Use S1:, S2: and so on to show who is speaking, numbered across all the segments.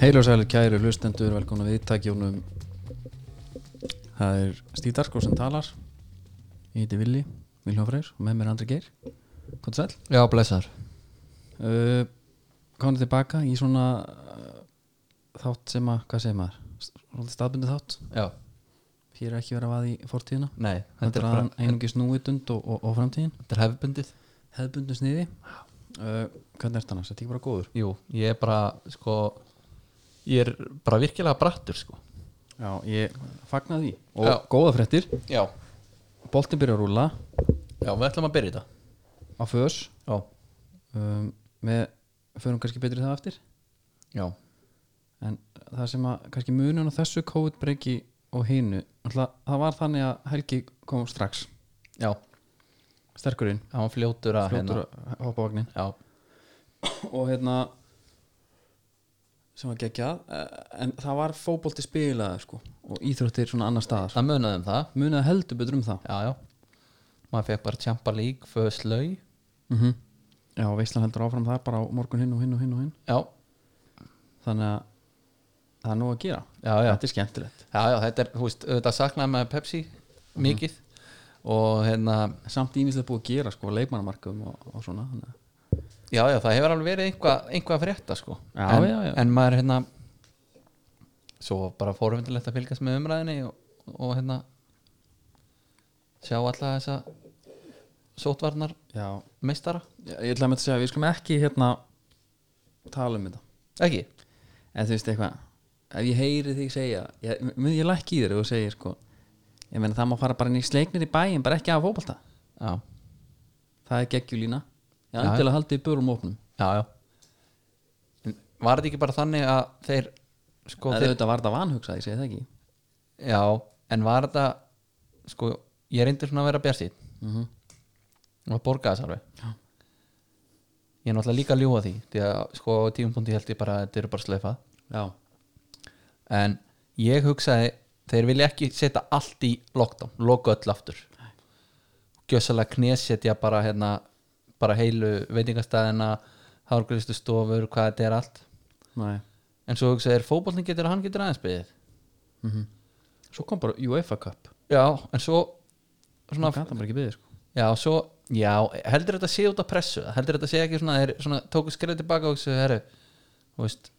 S1: Heil og sælir kæru hlustendur, velkomin að viðtækjónum Það er Stíð Darko sem talar Ég heiti Vili, Viljón Freyr og með mér er Andri Geir Hvað sæl?
S2: Já, blessar
S1: Uh, Komum tilbaka í svona uh, þátt sem að, hvað segir maður? Svolítið staðbundu þátt
S2: Já,
S1: Hér er ekki verið að vaða í fortíðina
S2: nei, þetta
S1: Þetta
S2: er,
S1: er
S2: bara,
S1: aðan einungis núvitund og, og, og framtíðin
S2: þetta er hefbundið
S1: Hefðbundu sniði uh, Hvernig er þetta annars? Þetta er ekki bara góður
S2: Jú, ég er bara, sko Ég er bara virkilega brattur, sko
S1: Já, ég fagna því Og
S2: Já.
S1: góða fréttir
S2: Já,
S1: Boltin byrja að rúla
S2: já, við ætlum að byrja þetta
S1: á föðs
S2: Já,
S1: um, með förum kannski betri það eftir
S2: já,
S1: en það sem að kannski munun á þessu COVID-breyki og hinu alltaf, það var þannig að Helgi kom strax
S2: já,
S1: sterkurinn,
S2: hann var fljótur að hérna-
S1: fljótur að hoppa á vagnin
S2: Já,
S1: og hérna sem var geggjað eh, en það var fótbolti spilaði sko og íþróttir svona annar staðar
S2: það munaði um það
S1: munaði heldur betur um það
S2: Já, já, maður fekk bara tjampa lík Föðs lau
S1: mm
S2: Mhm.
S1: -hmm. já, veislan heldur áfram þar bara á morgun hinn og hinn og hinn og hinn
S2: Já,
S1: þannig að það er nú að gera
S2: já, já
S1: þetta er skemmtilegt
S2: Já, já, þetta er, þú veist, auðvitað saknaði með Pepsi mikið og hérna,
S1: samt ímislega búið að gera sko leikmannamarkum og, og svona þannig að
S2: já, já, það hefur alveg verið einhvað, einhvað að frétta, sko
S1: Já,
S2: en,
S1: já, já.
S2: en maður, hérna svo bara fórhundilegt að fylgjast með umræðinni og, og hérna sjá alla þessa sótvarnar
S1: Já,
S2: meistara,
S1: ég ég ætla að með að segja við skulum ekki hérna tala um þetta
S2: ekki?
S1: en þú veist eitthvað, ef ég heyri þig segja ég, mun ég lækki í þér og segir sko ég meina það má fara bara inn í sleiknir í bæin bara ekki af fótbolta,
S2: Já,
S1: það er geggjulína ég
S2: Já.
S1: andil að haldi í börum opnum
S2: já, já En Var þetta ekki bara þannig að þeir sko,
S1: það
S2: þeir,
S1: er auðvitað var þetta vanhugsað, ég segi það ekki
S2: já, en var þetta sko, ég reyndi svona að vera bjartið
S1: mm -hmm.
S2: og að borga þess alveg
S1: Já.
S2: ég er náttúrulega líka að ljúga því því að sko á tímapunkti held ég bara að þetta eru bara sleifað
S1: Já,
S2: en ég hugsaði þeir vilja ekki setja allt í lockdown loka öll aftur gjössalega knésetja bara hérna bara heilu veitingastæðina hárgristu stofur, hvað þetta er allt
S1: næ
S2: en svo hugsaði er fótbollin getur að hann getur aðeins beðið
S1: mm Svo kom bara UEFA Cup
S2: já, en svo
S1: Ná,
S2: svona,
S1: það bara ekki byggði sko
S2: já, svo, já, heldur þetta sé út af pressu heldur þetta sé ekki svona, þeir svona tóku skrið tilbaka og þessu, herru þú veist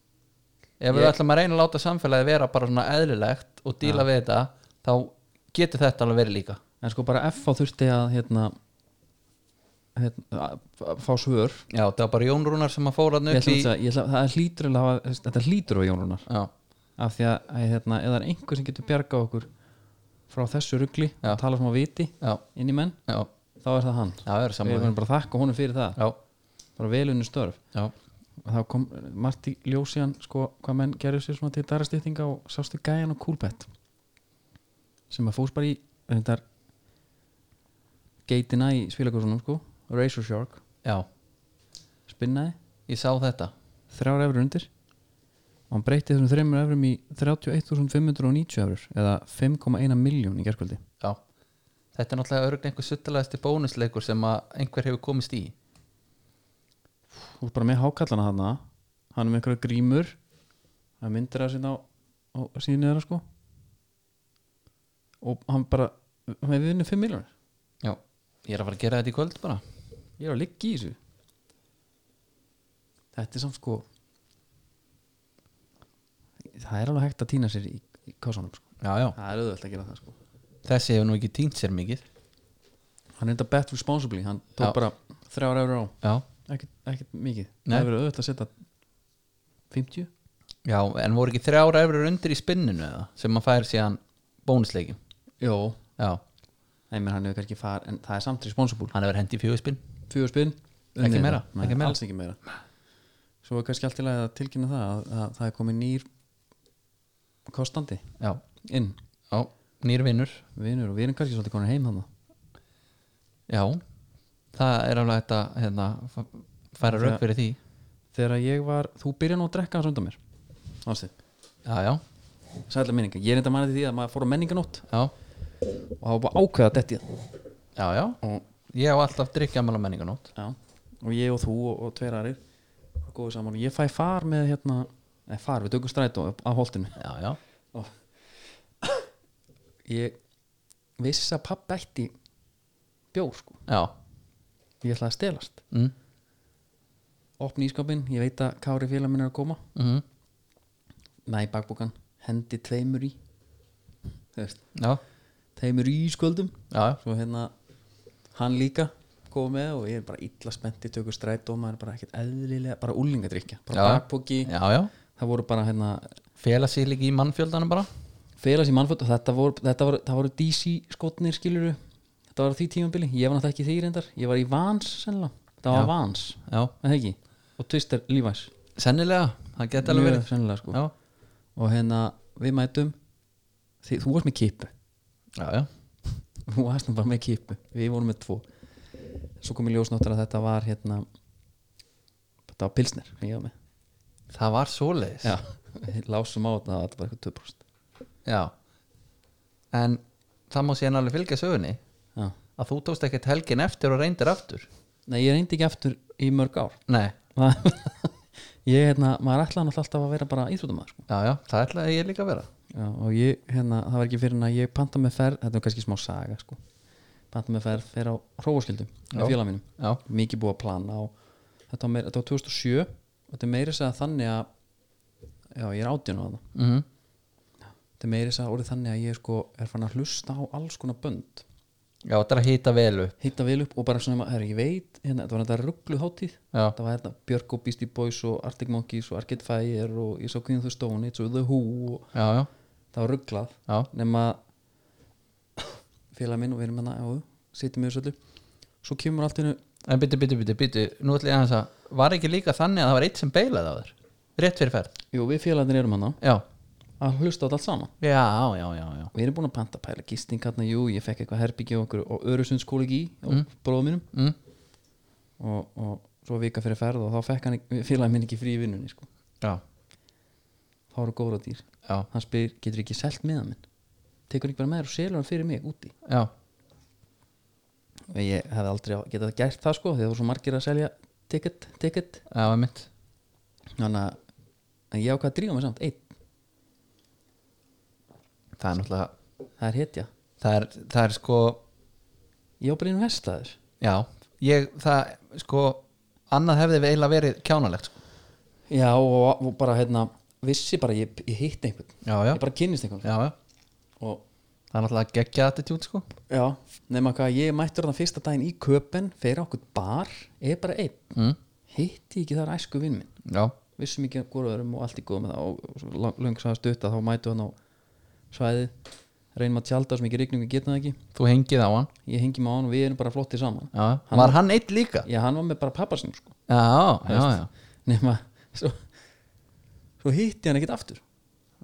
S2: ef við
S1: Ég-
S2: ætlum að reyna að láta samfélagi vera bara svona eðlilegt og díla við þetta þá getur þetta alveg verið líka
S1: En sko bara F þurfti að hérna, hérna að- að fá svör
S2: já, það var bara Jón Rúnar sem að fóra hann
S1: Ég
S2: upp
S1: ætla
S2: í
S1: að segja, ég ætla, það hlýtur að hafa, þetta hlýtur á Jónunar
S2: já,
S1: af því að, að hérna, ef það er einhver sem getur bjargað okkur frá þessu rugli
S2: Já.
S1: og tala sem á viti
S2: já,
S1: inn í menn,
S2: já,
S1: þá er það hann
S2: já, það er
S1: við
S2: sammála
S1: erum bara að þakka honum fyrir það
S2: já,
S1: bara velunni störf
S2: já,
S1: og þá kom Marti Ljósian sko, hvað menn gerðu sér svona til darastýttinga og sástu gæjan og kúlbett sem að fórs bara í reyndar geitina í spilakursunum sko Razor Shark,
S2: já,
S1: spinnaði
S2: ég sá þetta
S1: þrjár efur undir og hann breytti þessum þreymur efurum í 31.590 efur eða 5,1 miljón í gerkvöldi
S2: já, þetta er náttúrulega örgni einhver suttalegasti bónusleikur sem að einhver hefur komist í
S1: þú ert bara með hákallana þarna hann er með einhverja grímur það er myndir að sinna á, á síðinu þeirra sko og hann bara hann hefur vinnið 5 miljónir
S2: já, ég er að fara að gera þetta í kvöld bara
S1: ég er að liggja í þessu þetta er samt sko það er alveg hægt að týna sér í, í kásanum sko.
S2: já, já,
S1: það er auðvöld að gera það sko
S2: þessi hefur nú ekki týnt sér mikið
S1: hann er þetta bet responsibly hann tók
S2: Já.
S1: bara þrjár eurur á
S2: já,
S1: ekkert, ekkert mikið
S2: Nei.
S1: það hefur auðvöld að setja 50
S2: já en voru ekki þrjára efrur undir í spinninu eða, sem maður fær síðan bónusleikin
S1: Jó.
S2: já,
S1: Nei, menn, hann hefur kannski far en það er samt responsible
S2: hann hefur hendi í fjögurspinn
S1: fjögur spinn
S2: Ekki
S1: unnið
S2: meira,
S1: það. Nei,
S2: ekki meira.
S1: alls ekki meira svo er kannski allt í lagi að tilkynna það að, að það er komið nýr kostandi
S2: já,
S1: inn
S2: já, nýr vinnur
S1: vinur og við erum kannski svolítið konar heim hann
S2: já, það er alveg þetta hérna, fa- færa
S1: Það-
S2: rauk fyrir því
S1: þegar ég var, þú byrjar nú að drekka hans undan mér ástæð,
S2: já, já,
S1: sætla minninga ég er enda manið því að maður fór á menninganótt
S2: já,
S1: og það var bara ákveða að detti það
S2: já, já
S1: og,
S2: ég hef alltaf drikkja mæla menninganót
S1: já, og ég og þú og, og tveir aðrir góðu saman og ég fæ far með hérna Nei, far, við tökum strætó upp af holtinu
S2: já, já,
S1: Ég vissi að pappi ætti bjór sko
S2: já
S1: Ég ætlaði að stelast
S2: mm.
S1: Opni ískapin, ég veit að Kári félag minn er að koma
S2: Mm.
S1: Næ bakbúkan, hendi tveimur í Þú veist,
S2: já,
S1: Tveimur í sköldum
S2: já, já,
S1: Svo hérna, hann líka kom með og ég er bara illa spennt í tökur strætó og maður er bara ekkert eðlilega bara úlingadrykja, bara
S2: Já.
S1: bakbúki
S2: já, já.
S1: það voru bara hérna
S2: fela sig líka í mannfjöldanum bara
S1: félags í mannfótt og þetta voru, þetta voru, það voru DC skotnir skiluru þetta var á því tímabili, ég var náttúrulega ekki í því reyndar ég var í Vans sennilega, það var Vans
S2: já,
S1: en það ekki, og Twister Levi's
S2: sennilega, það geti alveg
S1: Mjög
S2: verið
S1: sennilega sko
S2: um já,
S1: og hérna, við mætum því, þú varst með kipu
S2: já, já,
S1: þú varst nú bara með kipu, við vorum með tvo svo kom í ljósnáttur að þetta var hérna þetta var pilsner sem ég var með
S2: það var svoleiðis
S1: já, við lásum á þetta, það var bara eitthvað 2%
S2: Já. en það má síðan alveg fylgja sögunni
S1: já.
S2: að þú tókst ekkert helgin eftir og reyndir aftur
S1: nei, ég reyndi ekki aftur í mörg ár
S2: nei,
S1: Ma- ég hérna, maður ætlaði náttúrulega alltaf að vera bara íþrótamaður sko.
S2: já, já, það ætlaði ég líka að vera
S1: já, og ég, hérna, það var ekki fyrir en að ég panta með ferð, þetta er kannski smá saga sko. panta með ferð, fer á hrófaskildum
S2: Já.
S1: með félag mínum,
S2: já,
S1: mikið búið að plana og þetta var, meir, þetta var 2007 og þetta er meiri segja þannig að já, ég er átján á það
S2: mm
S1: þetta er meiri segja orðið þannig að ég sko er fann að hlusta á alls konar bönd
S2: já, þetta er að hýta vel upp
S1: hitta vel upp og bara svona, herri, ég veit hérna, þetta var þetta rugglu hátíð
S2: já,
S1: það var hérna Björk og Beastie Boys og Arctic Monkeys og Arcade Fire og ég sá Queen of the Stone Age og The Who og
S2: já, já,
S1: það var rugglað
S2: já,
S1: nema félag minn og við erum hérna og sittum yfir svolítið svo kemur allt innu
S2: en byttu, byttu, byttu, byttu nú ætla ég aðeins að, var ekki líka þannig að það var eitt sem beilaði á þér, rétt fyrir ferð
S1: jú við félagarnir erum hérna
S2: já,
S1: að hlusta á þetta allt saman
S2: já, já, já, já
S1: við erum búin að panta pæla gisting hérna jú ég fekk eitthvað herbyggja okkur og Öresundskólegi og mm. bróðum mínum
S2: mm.
S1: og, og svo vika fyrir ferð og þá fekk hann félag minn ekki frí í vinnunni sko.
S2: já,
S1: þá eru góra dýr
S2: já,
S1: hann spyr getur ekki selt meðan minn tekur ekki bara með þér og selur hann fyrir mig úti
S2: já,
S1: og ég hefði aldrei á- getað gert það sko því það voru svo margir að selja ticket, ticket
S2: já, mitt
S1: þannig að en ég ákvað að drífa mig samt einn,
S2: það er náttúrulega,
S1: það er hetja
S2: það er, það er sko
S1: ég á bara einu vestlaður
S2: já, ég, það, sko annað hefði eiginlega verið kjánalegt sko.
S1: já og, og bara hérna vissi bara ég, ég hitt einhvern
S2: já, já,
S1: ég bara kynnist einhvern
S2: já, já
S1: og
S2: það er náttúrulega geggja attitút sko
S1: já, nema hvað ég mættur þannig fyrsta daginn í köpen fyrir okkur bar, ég er bara einn
S2: mm.
S1: hitti ég ekki þar æsku vinn minn
S2: já,
S1: vissum ekki að góraðurum og allt í góð með það og, og svo lang- löng svo að stutta þá mætu hann á svæðið reynum að tjálta sem ekki rigningu getna það ekki
S2: þú hengið á hann
S1: ég hengi mig á hann og við erum bara flottir saman
S2: já, hann var hann eitt líka já,
S1: já, hann var með bara pappa sinn sko.
S2: já, já,
S1: nema, svo, svo hitti hann ekkert aftur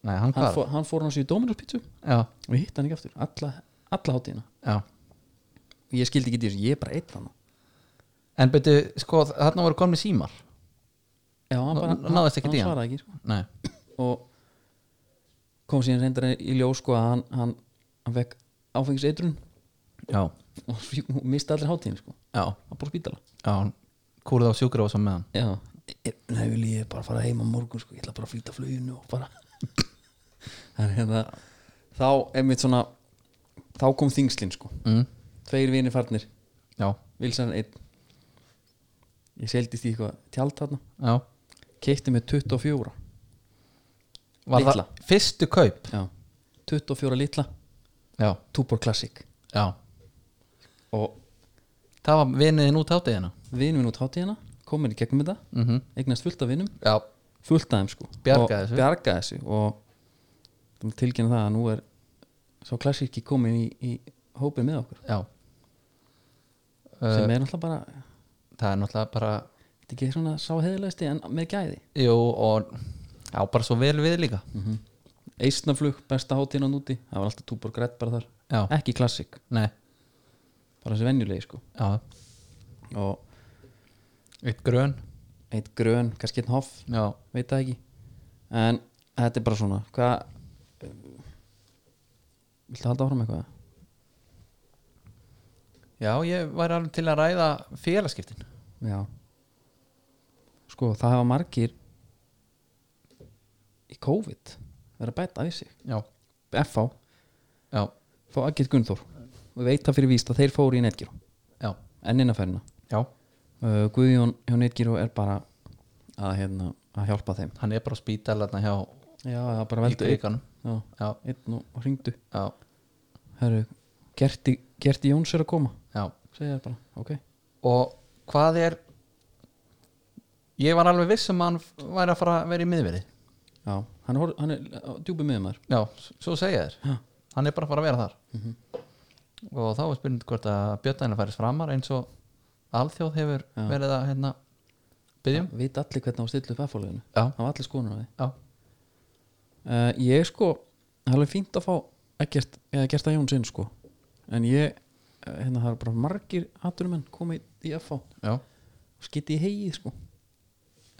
S2: nei, hann
S1: hann,
S2: hvar
S1: fó, hann fór hann sér í Dominos pizzu
S2: já,
S1: og ég hitti hann ekki aftur, alla, alla hátíðina
S2: já,
S1: og ég skildi ekki því þessu, ég er bara einn hann
S2: en betur, sko þarna voru komni símar
S1: já, hann bara,
S2: Ná- náðist ekki
S1: hann,
S2: í hann?
S1: hann svaraði ekki sko.
S2: nei,
S1: og kom síðan reyndar í ljós sko að hann, hann, hann fekk áfengis eitrun
S2: já,
S1: og svo- og misti allir hátíðin sko,
S2: já,
S1: hann búið spítala
S2: já hann kúrið á sjúkur á þessum meðan
S1: já, ég- E, nei, vil ég bara fara heim á morgun sko, ég ætla bara að flýta fluginu og bara það er hérna þá, einmitt svona þá kom þingslinn sko,
S2: mm.
S1: tveir vinir farnir
S2: já,
S1: Vilsan einn ég seldist í eitthvað tjald þarna
S2: já
S1: keipti með 24
S2: var
S1: Litla.
S2: það fyrstu kaup
S1: já, 24 litla
S2: já,
S1: Tupor Classic
S2: já,
S1: og
S2: það var viniðin út hátíðina
S1: vinum minn út hátíðina komin í gegnum þetta,
S2: mm
S1: eignast fullt af vinum
S2: já,
S1: fullt af þeim sko Og-
S2: Bjargaði þessu.
S1: bjargaði þessu og það má tilkynna það að nú er sá klassíki komin í, í hópin með okkur
S2: já Eh.
S1: sem er náttúrulega bara þetta
S2: það er náttúrulega bara
S1: er ekki svona sá heðilegsti en með gæði
S2: jú og já bara svo vel við líka
S1: Eisnaflug, besta hátíðin á núti það var alltaf Tupor Grætt bara þar
S2: já,
S1: ekki klassík,
S2: nei,
S1: bara þessi venjulegi sko
S2: já
S1: og
S2: eitt grön
S1: eitt grön, kannski einn hoff
S2: já,
S1: veit það ekki en þetta er bara svona hvað eh, viltu halda áfram eitthvað?
S2: já ég var alveg til að ræða félagskiptin
S1: já sko það hafa margir COVID vera að bæta í sig
S2: já,
S1: FH,
S2: já,
S1: fá Agit Gunnþór og veit það fyrir víst að þeir fóru í Netgyro
S2: já,
S1: ennina ferina
S2: já
S1: uh, Guðjón hjá Netgyro er bara að, hérna, að hjálpa þeim
S2: hann er bara á spítalarna hjá
S1: já, það bara
S2: í
S1: veldu einn
S2: kriganum
S1: já,
S2: já,
S1: einn og, og hringdu
S2: já,
S1: Herru, Gerti, Gerti Jóns er að koma
S2: já
S1: segja þér bara, ok
S2: og hvað er ég var alveg viss um að hann væri að fara að vera í miðverði
S1: já, hann, hor, hann er djúpi miður maður
S2: já, Mhm. s- svo segja þér
S1: Já.
S2: hann er bara að fara að vera þar og þá er spurning hvort að Björnæðina færis framar eins og alþjóð hefur
S1: Já.
S2: verið að hérna byggjum
S1: veit allir hvernig á stillu upp F-fólöginu
S2: já,
S1: hann var allir skoðunum að því
S2: já,
S1: uh, ég sko, það er alveg fínt að fá ekkert, eða gert að Jóns inn sko en ég, eh, hérna það er bara margir aturumenn komið í FH
S2: já,
S1: skiti í heið sko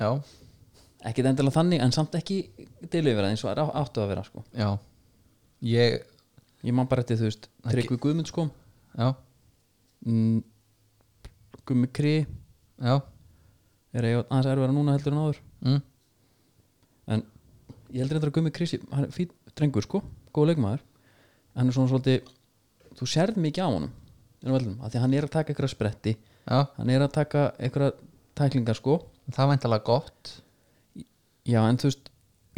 S2: já,
S1: ekkert endilega þannig, en samt ekki deilu yfir það eins og það áttu að vera sko
S2: já. ég
S1: ég man bara eftir þú veist, Tryggvi Guðmund sko
S2: já,
S1: mm, Gummi Kri
S2: já,
S1: er að aðeins erfara núna heldur en áður
S2: mm,
S1: en ég heldur eitthvað að Gummi Krissi hann er fýtt drengur sko, góð leikmaður hann er svona svolítið þú sérð mikið á honum inn á vellinum, af því að hann er að taka eitthvað spretti
S2: já
S1: hann er að taka eitthvað tæklingar sko
S2: það var eintalega gott
S1: já en þú veist,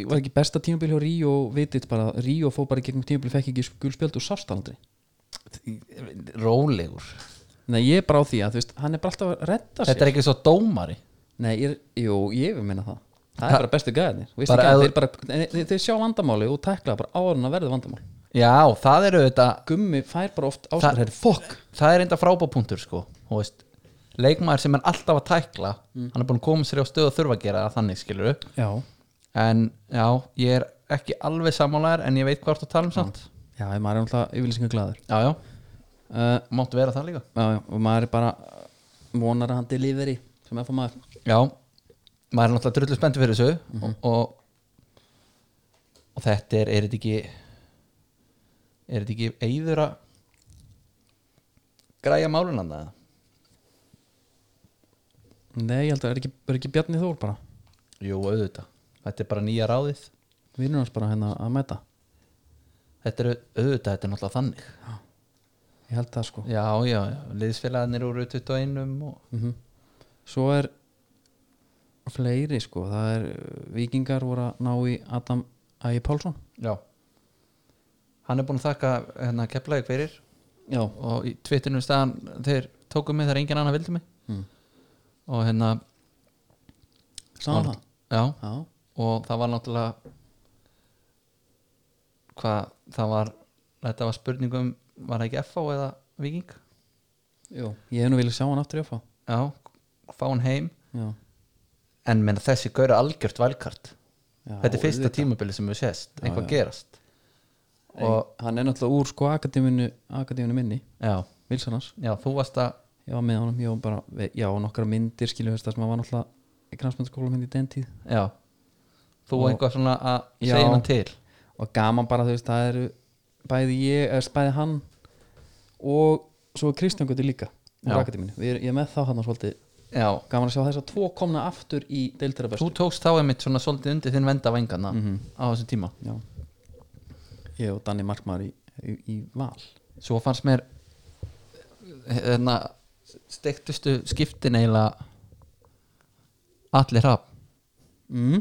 S1: var ekki besta tímabil hjá Ríó vitið bara, Ríó fó bara í gegnum tímabil fekk ekki gulspjöld og sást það aldrei
S2: rólegur
S1: nei ég er bara á því að þú veist, hann er bara alltaf að redda sér
S2: þetta er ekki svo dómari
S1: nei, ég, er- jú, ég vil meina það það
S2: Ha-
S1: er bara bestu gæðinir Þú veist
S2: Bara
S1: ekki að
S2: ef-
S1: þeir, bara, nei, þeir, þeir sjá vandamáli og tækla bara áður en að verða vandamál
S2: já, það eru þetta
S1: Gummi fær bara oft ástæður fokk
S2: það er enda frábápunktur sko þú veist, leikmaður sem er alltaf að tækla hann er búin að koma sér á stöð og þurfa að gera það þannig skilur
S1: já
S2: en já, ég er ekki alveg sammálaður en ég veit hvað þú ert að tala um samt
S1: Já, ef maður er náttúrulega yfirlýsingar glæður
S2: já, já,
S1: uh,
S2: máttu vera það líka
S1: já, já, og maður er bara vonar að hann deliveri sem er fór maður
S2: já, maður er náttúrulega drullu spenntur fyrir þessu og, og og þetta er, er þetta ekki er þetta ekki eigður að græja málunanda
S1: Nei, ég held að er ekki, er ekki Bjarni Þór bara
S2: jú, auðvitað, þetta er bara nýja ráðið
S1: vinnur hans bara hérna að mæta
S2: þetta er auðvitað, þetta er náttúrulega þannig
S1: ég held það sko
S2: Já, já, já, liðsfélagarnir úr 21 og...
S1: Mhm. Svo er fleiri sko það er uh, vikingar voru að ná í Adam Ægi Pálsson
S2: Já Hann er búin að þakka hérna keflaði fyrir
S1: Já,
S2: og í tvittunum staðan þeir tóku mig þegar enginn annar vildi mig
S1: Mm.
S2: og hérna
S1: sáðan
S2: var-
S1: það
S2: Já,
S1: Já,
S2: og það var náttúrulega hvað, það var þetta var spurningum, var það ekki FH eða Viking?
S1: jú, ég hef nú viljað sjá hann aftur í FH
S2: Já, fá hann heim
S1: Já,
S2: en menn þessi gaur er algjört valkart
S1: já
S2: þetta er fyrsta
S1: auðvitað.
S2: tímabili sem við sést, eitthvað gerast
S1: En Hann er náttúrulega úr sko akademinu, akademinu minni,
S2: já,
S1: Vilsanars
S2: já, þú varst að
S1: Já, með honum, já, bara, já, nokkra myndir skilju þess að maður var náttúrulega í kransmyndaskóla í den tíð
S2: Já Þú og,
S1: Og-
S2: eitthvað svona að
S1: Já.
S2: segja hann til
S1: og gaman bara, þú veist, það eru bæði ég, eða bæði hann og svo er Kristján Guði líka
S2: Já.
S1: úr akademinu, Við erum- ég er með þá hann svolítið
S2: Já
S1: gaman að sjá þess að tvo komna aftur í deildara
S2: Þú
S1: bestu
S2: tókst þá einmitt svona svolítið undir þinn venda vengana
S1: Mhm.
S2: á þessum tíma
S1: Já Ég og Danni Markmaður í, í, í val
S2: Svo fannst mér hérna steiktustu skiptin eiginlega allir haf
S1: mm.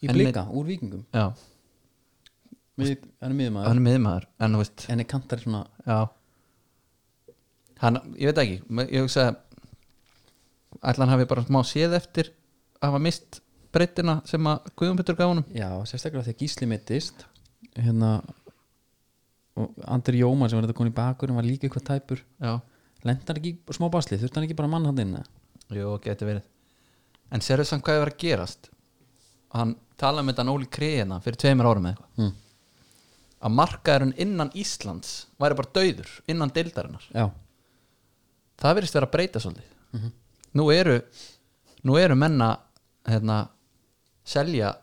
S1: Í
S2: En
S1: blika, úr vikingum
S2: Já,
S1: Við, hann er miðmaður,
S2: hann er miðmaður en þú veist,
S1: en er kantar svona
S2: já hann, ég veit ekki me- ég hugsa að ætlan hafi bara smá séð eftir að hafa mist breytina sem að Guðumpytur gaf honum
S1: Já, sérstaklega þegar Gísli mittist hérna og Andri Jóman sem var þetta komin í bakur hann var líka eitthvað tæpur
S2: Já
S1: lenda hann ekki í smá basli, þurfti hann ekki bara mann hann inn eða?
S2: Jú, geti verið En sérðu samt hvað er að gerast Hann talaði með þetta Óli Kreina fyrir tveimur árum eða eitthvað
S1: Mm.
S2: að markaðurinn innan Íslands væri bara dauður innan deildarinnar
S1: Já,
S2: það verðist vera að breyta svolítið
S1: Mhm.
S2: nú, eru, nú eru menna hérna, selja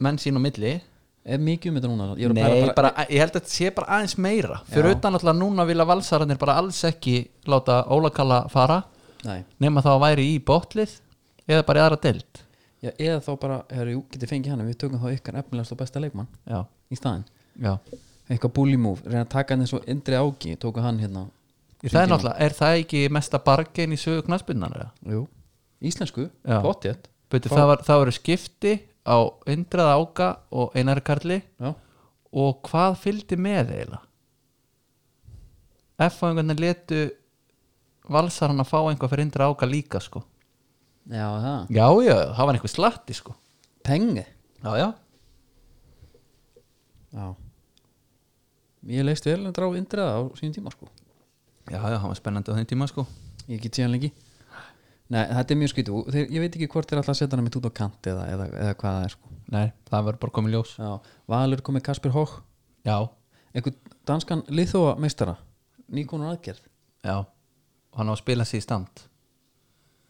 S2: menn sín á milli
S1: er mikið um þetta núna ég er að
S2: Nei,
S1: pæla
S2: bara, ég held að þetta sé bara aðeins meira fyrir
S1: Já.
S2: utan alltaf núna vilja valsararnir bara alls ekki láta Óla Kalla fara
S1: Nei,
S2: nema þá að væri í botlið eða bara í aðra deild
S1: Já, eða þá bara, herri, jú, getið fengið hann en við tökum þá ykkar efnilegast og besta leikmann
S2: já,
S1: í staðinn,
S2: já
S1: eitthvað bully move reyna að taka hann eins og indri ági, tóku hann hérna
S2: Það er náttúrulega, er það ekki mesta bargein í sögu knassbundanar?
S1: Jú. íslensku,
S2: Já.
S1: potjett
S2: Böti, það, var, það voru skipti á Indrað Áka og Einar Karli
S1: já,
S2: og hvað fylgdi með eiginlega? F-fáingarnir letu valsarana fá einhvað fyrir Indrað Áka líka sko
S1: já það
S2: Já, já, það var einhver slatti sko
S1: Tengi
S2: Já, já,
S1: Já Ég leist vel að drá indriða á sínum tíma sko
S2: já, já, það var spennandi á þeim tíma sko
S1: Ég get síðan lengi Nei, þetta er mjög skrítið og þeir, Ég veit ekki hvort þeir alltaf að setja hann mitt út á kant eða, eða, eða hvað það er sko
S2: Nei, það var bara komið ljós
S1: Já, Valur komið Kasper Hók
S2: Já,
S1: einhvern danskan liðþóa meistara Nýkonur aðgerð
S2: já, hann á að spila sér í stand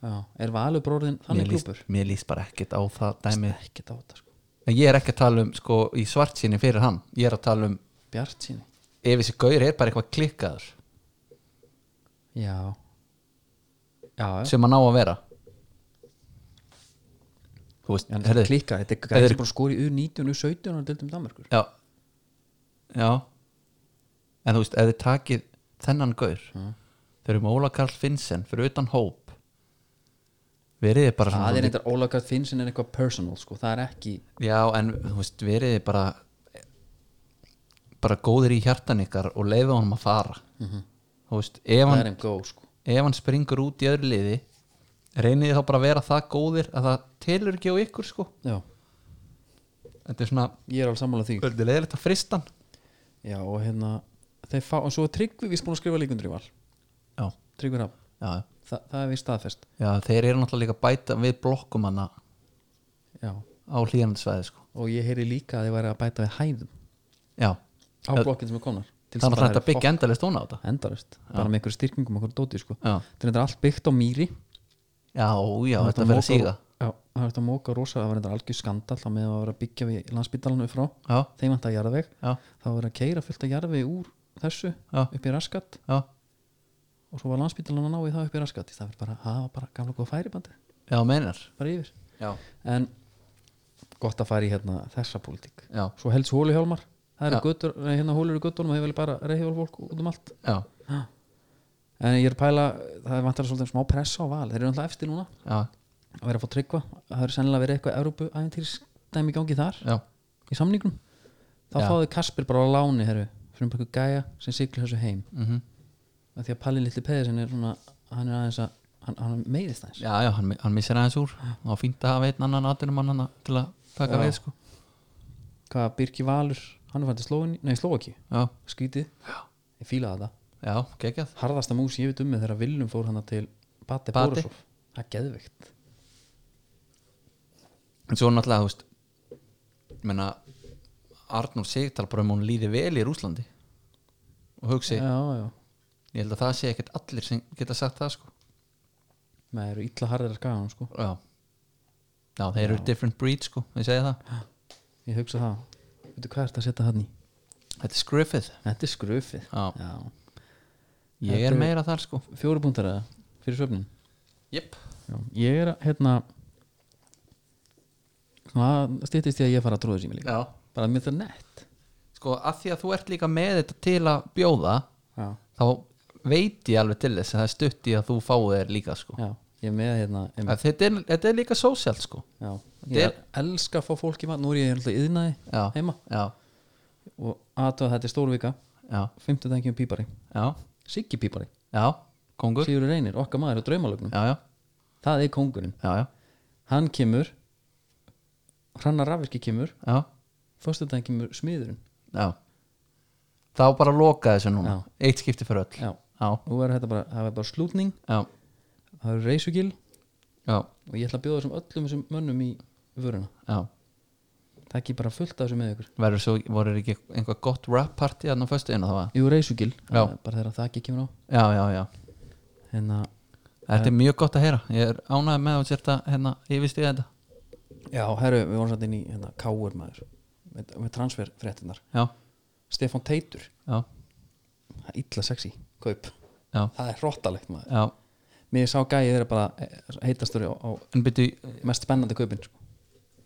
S1: Já, er Valur bróðin þannig
S2: mér líst,
S1: klúpur?
S2: mér líst bara ekkert á það dæmið
S1: Ekki á þetta sko
S2: En ég er ekki að tala um sko í svart síni fyrir hann Ég er að tala um
S1: Bjart síni
S2: ef þessi gaur er bara eitthvað klikkaður
S1: Já Já, já
S2: sem hann á að vera Þú veist,
S1: Já, þetta
S2: herðu
S1: er klíka, þetta er
S2: Heyrðu.
S1: gæði sem bara skori úr 19 og 17 og dildum Danmarkur
S2: Já Já En þú veist, ef þið takið þennan gaur
S1: Mm.
S2: þau eru með Óla Karl Finnsen fyrir utan hóp verið þið bara
S1: Það
S2: svona,
S1: er eitthvað ólagat finnsin en eitthvað personal sko, það er ekki
S2: Já, en þú veist, verið þið bara bara góðir í hjartan ykkar og leiðu honum að fara Þú veist, ef
S1: Mhm. það
S2: hann
S1: er þeim góð sko
S2: ef hann springur út í öðru liði reynið þið þá bara að vera það góðir að það telur ekki á ykkur sko
S1: Já,
S2: þetta er svona,
S1: ég er alveg sammála því
S2: þetta er leðilegt að frista hann
S1: Já, og hérna, þeir fá, og svo er Tryggvi vist búin að skrifa líkundur í val
S2: já,
S1: Tryggvi Rapp,
S2: já,
S1: Þa, það er við staðfest
S2: já, þeir eru náttúrulega líka að bæta við blokkum hann á
S1: Já,
S2: hlýjandsvæði sko
S1: og ég heyri líka að þeir væri að bæta við hæðum
S2: já,
S1: á blokkin sem er komnar til
S2: þannig að
S1: sem
S2: þetta
S1: er
S2: byggja endalist hún á þetta
S1: fokk- endalaust, bara með einhverju styrkingum okkur dóti sko.
S2: já,
S1: Þetta er reyndar allt byggt á mýri
S2: já, já
S1: Það er
S2: þetta
S1: að
S2: fyrir
S1: moka-
S2: að síga
S1: Já, það er þetta móka rosa, það var þetta algjör skandal þá með að vera að byggja við landsbytalan upp frá
S2: já,
S1: þeim vant að jarðveg,
S2: já,
S1: þá var að keira fullt að jarðveg úr þessu
S2: já,
S1: upp í raskat
S2: já,
S1: og svo var landsbytalan að ná í það upp í raskat það var bara, það var bara gamla góð færibandi
S2: já, meinar
S1: bara yfir
S2: já,
S1: en gott að fara í hérna þessa pólitík
S2: já,
S1: svo helst hólu hjálmar það eru
S2: Já.
S1: götur, nei, hérna hólur í göttunum og þeir vilja bara reyðhjálf fólk út um allt
S2: já,
S1: en ég er að pæla, það er vantar svolítið smá pressa á val, þeir eru alltaf eftir núna
S2: já,
S1: að vera að fá tryggva, það eru sennilega að vera eitthvað Európu æfintýrstæmi í gangi þar
S2: já,
S1: í samningnum, þá
S2: Já.
S1: fáðu Kasper bara á láni, herru, fyrir um eitthvað gæja sem siglir þessu heim,
S2: mhm.
S1: af því að Palli litli Peðisinn er svona, hann er aðeins að hann, hann meiðist aðeins,
S2: já, já, hann, mi- hann missir aðeins úr og fínt að hafa einn annan aðdunumann hann til að taka
S1: Já.
S2: við sko
S1: hvað Birki Valur hann er fænt í Slóin, nei Slóaki
S2: já,
S1: skítið, ég fílaði það
S2: já, geggjað
S1: harðasta mús ég veit um með þegar Viljum fór hana til Bate
S2: Bate.
S1: Borosov það er geðvikt
S2: en svo náttúrulega, þú veist ég meina, Arnur Sigtal bara um hún líði vel í Rúslandi og hugsi,
S1: já, já.
S2: ég held að það sé ekkert allir sem geta sagt það sko
S1: með eru illa harðir að skaga hann sko
S2: já, já þeir eru different breed sko, ég segi það
S1: ég hugsa það, veitu hvað ertu að setja hann í
S2: þetta er skriffið,
S1: þetta er skröfið
S2: Já.
S1: Já.
S2: ég
S1: Þetta
S2: er
S1: er-
S2: meira þar sko
S1: fjóru púntar eða fyrir svefnin
S2: jöp,
S1: já. ég er að hérna svona stýttist ég að ég fara að tróða sér mér líka
S2: já
S1: bara að mér það er nett
S2: sko, af því að þú ert líka með þetta til að bjóða
S1: já.
S2: þá veit ég alveg til þess að það er stutt í að þú fáið þér líka sko
S1: Já. ég er með hérna em,
S2: Að þetta er, þetta er líka sósjál sko
S1: já.
S2: Þetta
S1: ég elska að fá fólk í mat nú er ég alltaf yðnaði
S2: já,
S1: heima
S2: já,
S1: og aðtöða þetta er stórvika
S2: já,
S1: 50 dækjum pípari
S2: já,
S1: Siggi Pípari,
S2: já kongur,
S1: Sigurður Reynir, okkar maður á draumalögnum
S2: já, já,
S1: það er kóngurinn,
S2: já, já,
S1: hann kemur hrannar rafvirki kemur
S2: já,
S1: föstudaginn kemur smiðurinn
S2: já. þá bara loka þessu núna
S1: Já.
S2: eitt skipti fyrir öll já,
S1: já,
S2: já,
S1: nú er þetta bara, það er bara slútning
S2: já,
S1: það er reysugil
S2: já,
S1: og ég ætla að bjóða þessum öllum þessum mönnum í vöruna, það ekki bara fullt af þessu með ykkur
S2: verður svo, voru ekki einhvað gott rap party hann á föstu einu þá að
S1: jú, reysugil,
S2: Já.
S1: bara þegar það ekki kemur á
S2: já, já, já,
S1: hérna,
S2: þetta er mjög gott að heyra ég er ánægð með að sérta hérna yfirstíða þetta,
S1: já, herru, við vorum satt inn í hérna, káur maður, með, með transferfréttinar
S2: já,
S1: Stefán Teitur,
S2: já,
S1: það er illa sexy kaup,
S2: já,
S1: það er hróttalegt maður
S2: já
S1: mér sá gæið þeirra bara eh, heitastur á, á
S2: en byrju,
S1: mest spennandi kaupin sko.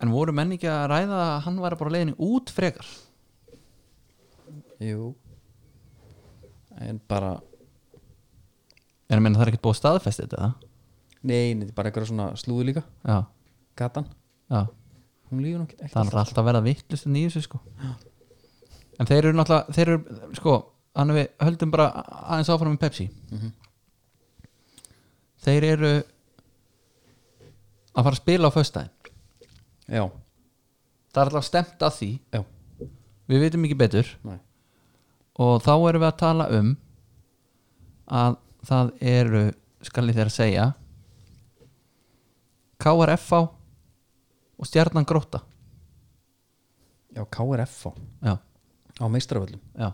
S2: en voru menn ekki að ræða að hann var bara á leiðinni út frekar
S1: Jú En bara
S2: en ég meina það er ekkert búið að staðfesta þetta
S1: Nei, þetta er bara eitthvað svona slúðu líka
S2: eða? já,
S1: Gatan,
S2: já,
S1: hún líður nú ekki
S2: það er náttúrulega alltaf að verða vittlust en í þessu sko en þeir eru náttúrulega, þeir eru sko, hann við höldum bara aðeins áfram með Pepsi
S1: Mhm.
S2: þeir eru að fara að spila á föstudaginn
S1: Já,
S2: það er alltaf stemt að því
S1: já,
S2: við veitum ekki betur
S1: næ
S2: og þá erum við að tala um að það eru skal ég þér að segja KRFV og Stjarnan Gróta
S1: Já, KRF á,
S2: já,
S1: á meistaravöllum
S2: já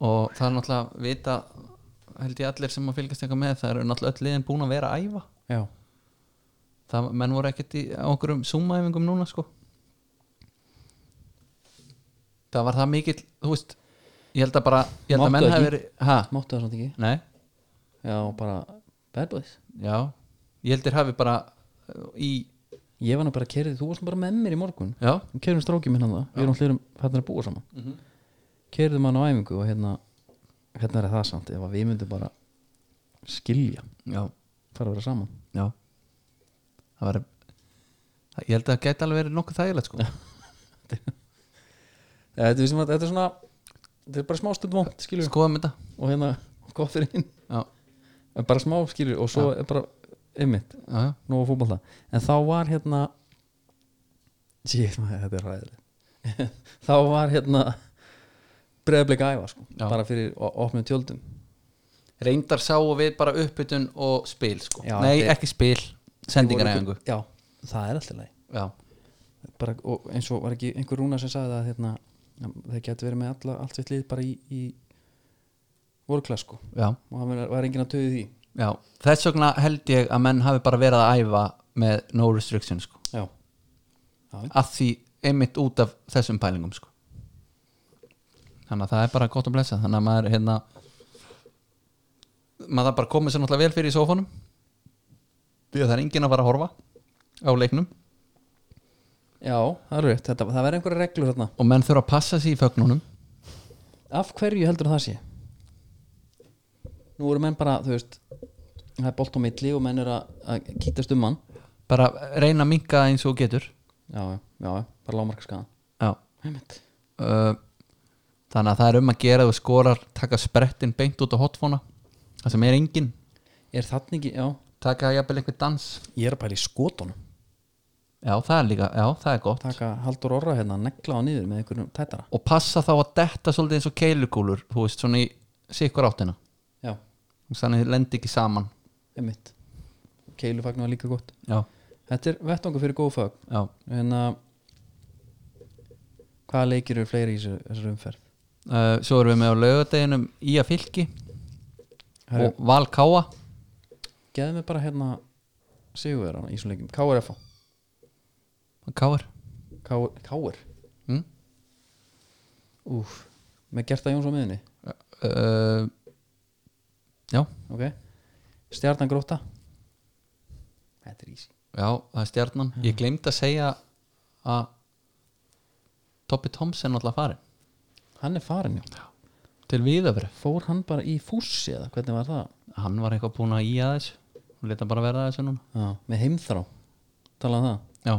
S2: og það er náttúrulega vita held ég allir sem að fylgjast eitthvað með það eru náttúrulega öll liðin búin að vera að æfa
S1: Já,
S2: það, menn voru ekkert í okkur um súmaæfingum núna sko það var það mikill þú veist, ég held að bara ég held að menn
S1: Máttu
S2: hafi
S1: ekki?
S2: verið, hæ,
S1: máttu það samt ekki
S2: nei
S1: Já, bara bad boys
S2: Já, ég heldur hafi bara uh, í,
S1: Ég var nú bara að kerið, þú varst nú bara með mér í morgun
S2: já,
S1: Við kerðum strókið minn hann það, við erum allir hérna að búa saman mm -hmm. Kerðum hann á æfingu og hérna hérna er það samt, ef að við myndum bara skilja,
S2: já,
S1: fara að vera saman
S2: já það var það- ég held að það gæti alveg verið nokkuð þægilegt sko
S1: ja, þetta, er sem að, þetta er svona þetta er bara smá stund vond, skilur
S2: skoðum þetta
S1: og hérna, gott fyrir hinn
S2: já,
S1: En bara smá, skilur, og svo er bara einmitt,
S2: já, já,
S1: nóg að fótbolta en þá var hérna Jétt, maður, þetta er ræðilegt þá var hérna breiðblik æfa sko,
S2: Já.
S1: bara fyrir o- opnum tjöldum
S2: reyndar sá við bara uppbytun og spil sko
S1: Já,
S2: nei,
S1: þeir-
S2: ekki spil, sendingaræfingu
S1: já, það er alltaf leið
S2: já,
S1: bara, og eins og var ekki einhver rúna sem sagði það hérna, þeir getur verið með alla, allt sitt lið bara í, í vorklass sko
S2: já,
S1: og það var- var enginn að töði því
S2: já þess vegna held ég að menn hafi bara verið að æfa með no restriction sko
S1: já,
S2: að því einmitt út af þessum pælingum sko. þannig að það er bara gott að blessa þannig að maður hérna maður það bara komið sér náttúrulega vel fyrir í sófanum því að það er enginn að fara að horfa á leiknum
S1: já það er rétt, þetta, það verður einhverja reglur hérna
S2: og menn þurfa að passa sér í fögnunum
S1: af hverju heldur það sé nú eru menn bara þú veist það er bolt á milli og menn eru að, að kýtast um hann
S2: bara reyna að minka eins og þú getur
S1: já, já, já, bara lámarkaskaðan
S2: já
S1: einmitt,
S2: uh, þannig að það er um að gera þú skorar, taka sprettin beint út á hotfóna það sem er enginn
S1: er þarna ekki, já
S2: taka jafnvel einhver dans
S1: ég er bara í skotunum,
S2: já það er líka, já það er gott
S1: taka Haldur Orra hérna, negla á niður með einhverjum tætara
S2: og passa þá að detta svolítið eins og keilukúlur þú veist, svona í sikur áttina
S1: já,
S2: þannig þið lendi ekki saman
S1: einmitt keilufagn var líka gott
S2: já,
S1: þetta er vettangu fyrir góð fag
S2: já,
S1: en að hvaða leikir eru fleiri í þessu, þessu umferð
S2: uh, svo erum við með á laugardeginum í að fylki
S1: Herru.
S2: og Val Káa
S1: geðum við bara hérna Sigurverðan í þessum leikum, KRF
S2: Káar
S1: KR
S2: mm?
S1: Úf, með Gerta Jóns á miðunni
S2: uh, já,
S1: ok, stjarnan gróta þetta er ísi
S2: já, það er stjarnan ég gleymd að segja að Toppi Thompson alltaf farin
S1: hann er farin já,
S2: til viðöfri
S1: fór hann bara í fússi eða hvernig var það
S2: hann var eitthvað búin að í að þessu hún leta bara verða að þessu núna
S1: já, með heimþrá, talaði um það
S2: já,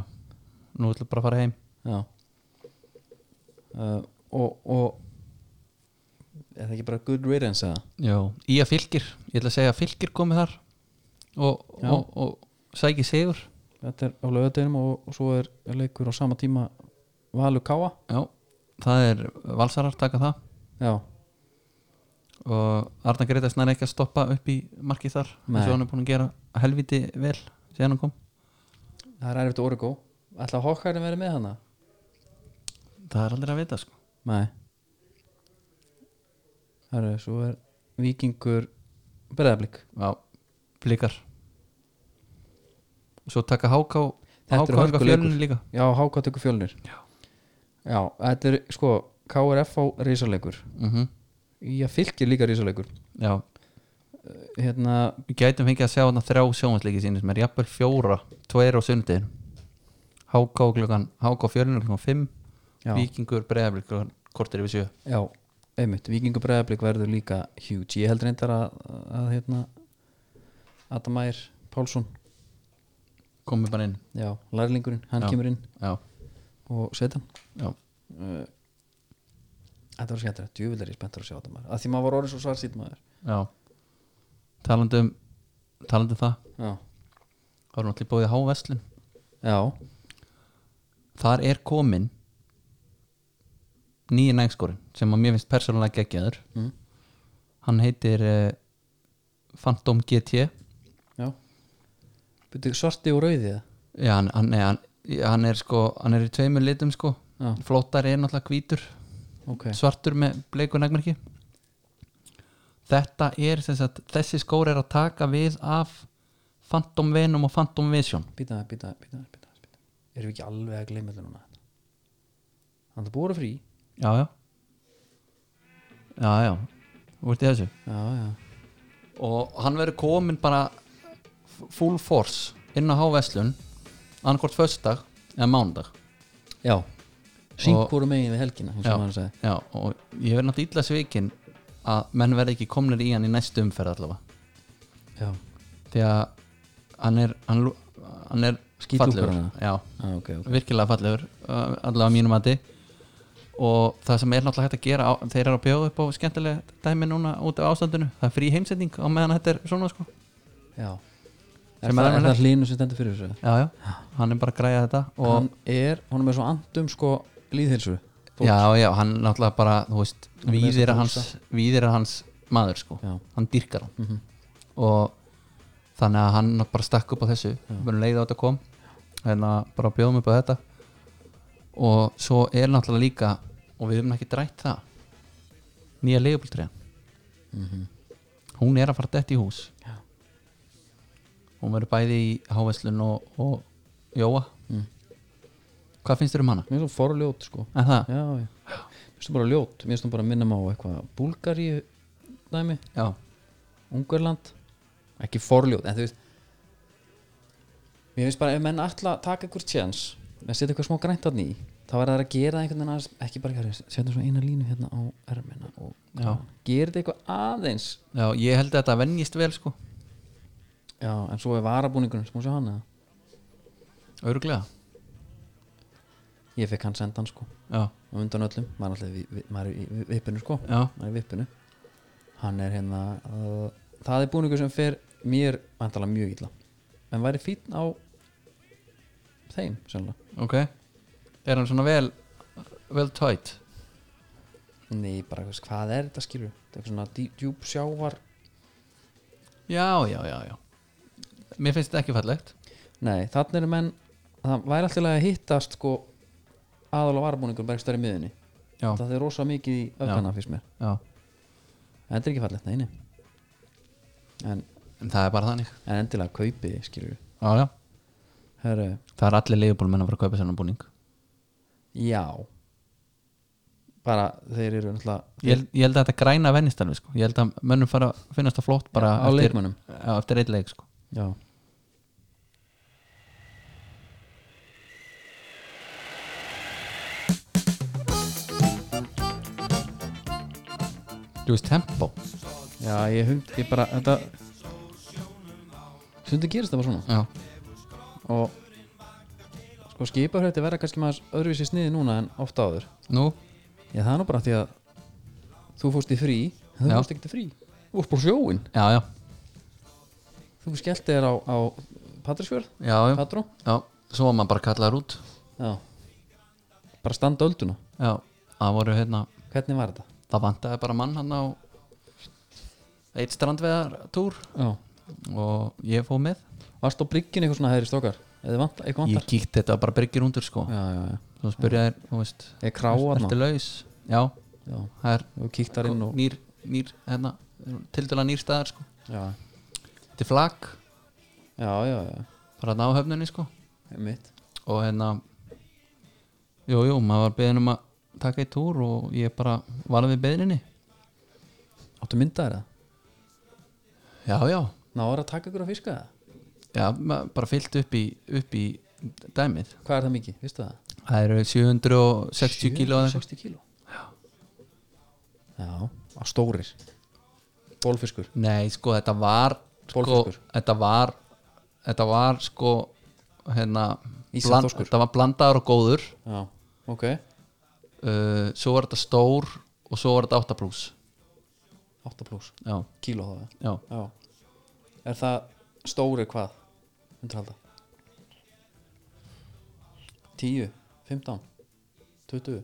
S2: nú ætlum við bara að fara heim
S1: já uh, og, og er það ekki bara good riddance eða
S2: Já, í að fylgir Ég ætla að segja að fylgir komið þar og,
S1: Já.
S2: og, og sæki sigur
S1: þetta er á lögadeginum og, og svo er er leikur á sama tíma Valur Káa
S2: Já, það er valsarar taka það
S1: já,
S2: og Arna Greitas nær ekki að stoppa upp í markið þar
S1: Nei.
S2: eins og hann er búin að gera helviti vel síðan hann kom
S1: það er erfitt orgo ætla Hókkarinn verið með hana?
S2: Það er aldrei að vita sko
S1: Nei Herru, svo er Víkingur Breðablík
S2: Já, flikar Svo taka HK
S1: Þetta
S2: HK
S1: eru
S2: HK
S1: hörkuleikur.
S2: fjölunni líka
S1: Já, háka tökur fjölnir
S2: Já.
S1: Já, þetta er sko KRF á risalegur
S2: mm
S1: Já, fylgir líka risalegur
S2: Já,
S1: Hérna,
S2: við gætum fengið að sjá hann þrjá sjónvansleiki sínir sem er jafnvel fjóra, tveir á sundin HK klukkan HK fjörinu klukkan 5
S1: Já.
S2: Víkingur breyðablik klukkan kortir yfir 7
S1: Já, einmitt, Víkingur Breiðablik verður líka huge, ég held reyndar að, að hérna, Adam Mær Pálsson,
S2: komið bara inn
S1: já, lærlingurinn hann
S2: Já.
S1: kemur inn
S2: já,
S1: og setan
S2: já,
S1: uh, Þetta var skemmtilegt, djúvill er ég spenntur að sjá Adam Mær að því maður var orðin svo svarsýtt maður
S2: já. talandi um talandi um það,
S1: Já,
S2: þá erum allir búið háveslun
S1: já,
S2: þar er komin nýji nægskorin sem að mér finnst persónulega geggjaður
S1: mm.
S2: hann heitir uh, Phantom GT
S1: já. Byrju, Svarti og rauði það
S2: já, hann, hann, nei, hann, hann er sko hann er í tveimur litum sko
S1: Já,
S2: flótari er náttúrulega hvítur
S1: ok,
S2: svartur með bleiku nægmerki þetta er þess að þessi skór er að taka við af Phantom Venom og Phantom Vision
S1: býta, býta, býta, býta, býta Erum við ekki alveg að gleyma þetta núna Hann það búið að vera frí
S2: já já já já, þú ert í þessu
S1: Já, já,
S2: og hann verður komin bara full force inn á háveslun annarkort föstudag eða mánudag
S1: já Syng
S2: Og-
S1: hvora megin við helgina, eins
S2: Já.
S1: og maður sagði
S2: já, og ég verður náttúrulega illa svikin að menn verður ekki komnir í hann í næstu umferð allavega
S1: Já,
S2: því að hann er hann, lú- hann er
S1: Skítlúkur
S2: fallegur.
S1: hann.
S2: já,
S1: ah, ok, ok
S2: virkilega fallegur uh, allavega mínum að og það sem er náttúrulega hægt að gera á, þeir eru að bjóða upp á skemmtilega dæmi núna út af ástandinu, það er frí heimsending á meðan þetta er svona sko
S1: Já Er
S2: Sem
S1: það,
S2: er
S1: er það hlínu sem stendur fyrir þessu?
S2: já, já, hann er bara að græja þetta
S1: Og
S2: og
S1: hann er, honum er svo andum sko líðhilsu
S2: já, já, hann náttúrulega bara, þú veist
S1: er með
S2: víðir
S1: þessa
S2: er hans, víðir er hans maður sko,
S1: Já.
S2: hann dýrkar hann
S1: Mhm.
S2: og þannig að hann bara stakk upp á þessu, verður leið á þetta kom hérna bara bjóðum upp á þetta og svo er náttúrulega líka og við höfum ekki drætt það nýja leigubildriðan hún er að fara dætt í hús
S1: Mhm. Já.
S2: hún verður bæði í háveslun og, og Jóa
S1: Mm.
S2: hvað finnst þér um hana?
S1: Mér finnst hún forljót sko
S2: Er það?
S1: Já, já Mér finnst hún bara ljót, mér finnst hún bara minna mig á eitthvað Búlgaríu dæmi,
S2: Já,
S1: Ungarland Ekki forljót, en þú veist Mér finnst bara ef menn ætla að taka ykkur tjens að setja eitthvað smá grænt að ný þá er það að gera það einhvern veginn aðeins ekki bara hér, setja svona eina línu hérna á ermina og
S2: Já.
S1: gera þetta eitthvað aðeins
S2: já ég held að þetta venjist vel sko
S1: Já, en svo er varabúningunum, smá sjá hann eða
S2: Örglega
S1: Ég fekk hann sendan sko
S2: Já,
S1: á undan öllum, maður er alltaf í- vi- maður er í vi- vippinu sko
S2: já,
S1: maður er í vippinu hann er hérna uh, það er búningur sem fer mér vantala mjög illa en væri fínn á þeim sannlega
S2: ok Er hann svona vel vel tætt?
S1: Nei, bara þú veist, hvað er þetta skilur þetta er eitthvað svona dý- djúp sjávar
S2: Já, já, já, já Mér finnst þetta ekki fallegt
S1: nei, þannig eru menn það væri alltaf að hittast sko aðalega varabúningur bara ekki stærri miðunni
S2: Já,
S1: það er rosa mikið í öfgana fyrst mér
S2: já
S1: en þetta er ekki fallegt, nei, nei en,
S2: En það er bara þannig
S1: en endilega kaupið skilur
S2: Já, já
S1: Herru,
S2: Það er allir leifbólmenn að fara að kaupa sérna búning
S1: Já bara þeir eru náttúrulega
S2: ég, held- ég held að þetta græna vennist alveg sko Ég held að mönnum fara að finnast það flott bara
S1: Já, á
S2: eftir,
S1: leikmönnum.
S2: Já, eftir eitt leik sko
S1: já.
S2: Þú veist tempo
S1: já, ég hund, ég bara þetta stundu gerist það bara svona
S2: Já,
S1: og sko skipafrætti verða kannski maður öðruvísi sniði núna en ofta áður
S2: nú,
S1: ég það er nú bara því að þú fórst í frí, en þú
S2: Já.
S1: fórst ekkert í frí þú fórst bara á sjóinn,
S2: já, já
S1: þú skellt þér á, á Patrísfjörð,
S2: Já, já,
S1: Patró
S2: já Svo var maður bara kallaður út
S1: já bara standa ölduna,
S2: Já, það voru hérna
S1: hvernig var þetta?
S2: það vantaði bara mann hann á eitt strandveðar túr
S1: já,
S2: og ég fóð með
S1: varst á bryggjun eitthvað svona hæðri stókar eða vant, eitthvað
S2: ég
S1: vantar?
S2: kíkti þetta bara byrgir undur sko
S1: já, já, já,
S2: þú spurjaði, þú veist
S1: ég kráa
S2: ertu laus, já,
S1: já,
S2: það er
S1: þú kíkt þar inn og
S2: nýr, nýr hérna, til dæla nýr staðar sko
S1: já,
S2: þetta er flak,
S1: já, já, já.
S2: bara þarna á höfnunni sko
S1: mitt
S2: og hérna jú, jú, maður var beðin um að taka eitt túr og ég bara var við beðinni
S1: áttu myndaðir það?
S2: já, já,
S1: náður að taka ykkur að fiska það?
S2: já, maður bara fyllt upp í, upp í dæmið
S1: Hvað er það mikið, veistu það?
S2: það eru 760 kíló eða
S1: 60
S2: eitthvað.
S1: kíló Já Já, á stórir Bólfiskur
S2: nei sko þetta var sko,
S1: Bolfiskur.
S2: þetta var þetta var sko hérna bland,
S1: Ísafþorskur.
S2: þetta var blandaður og góður
S1: Já, ok
S2: uh, svo var þetta stór og svo var þetta 8 plus
S1: 8 pluss,
S2: já,
S1: kíló þá eða?
S2: já,
S1: Já Er það stóri hvað? Undir halda 10, 15 20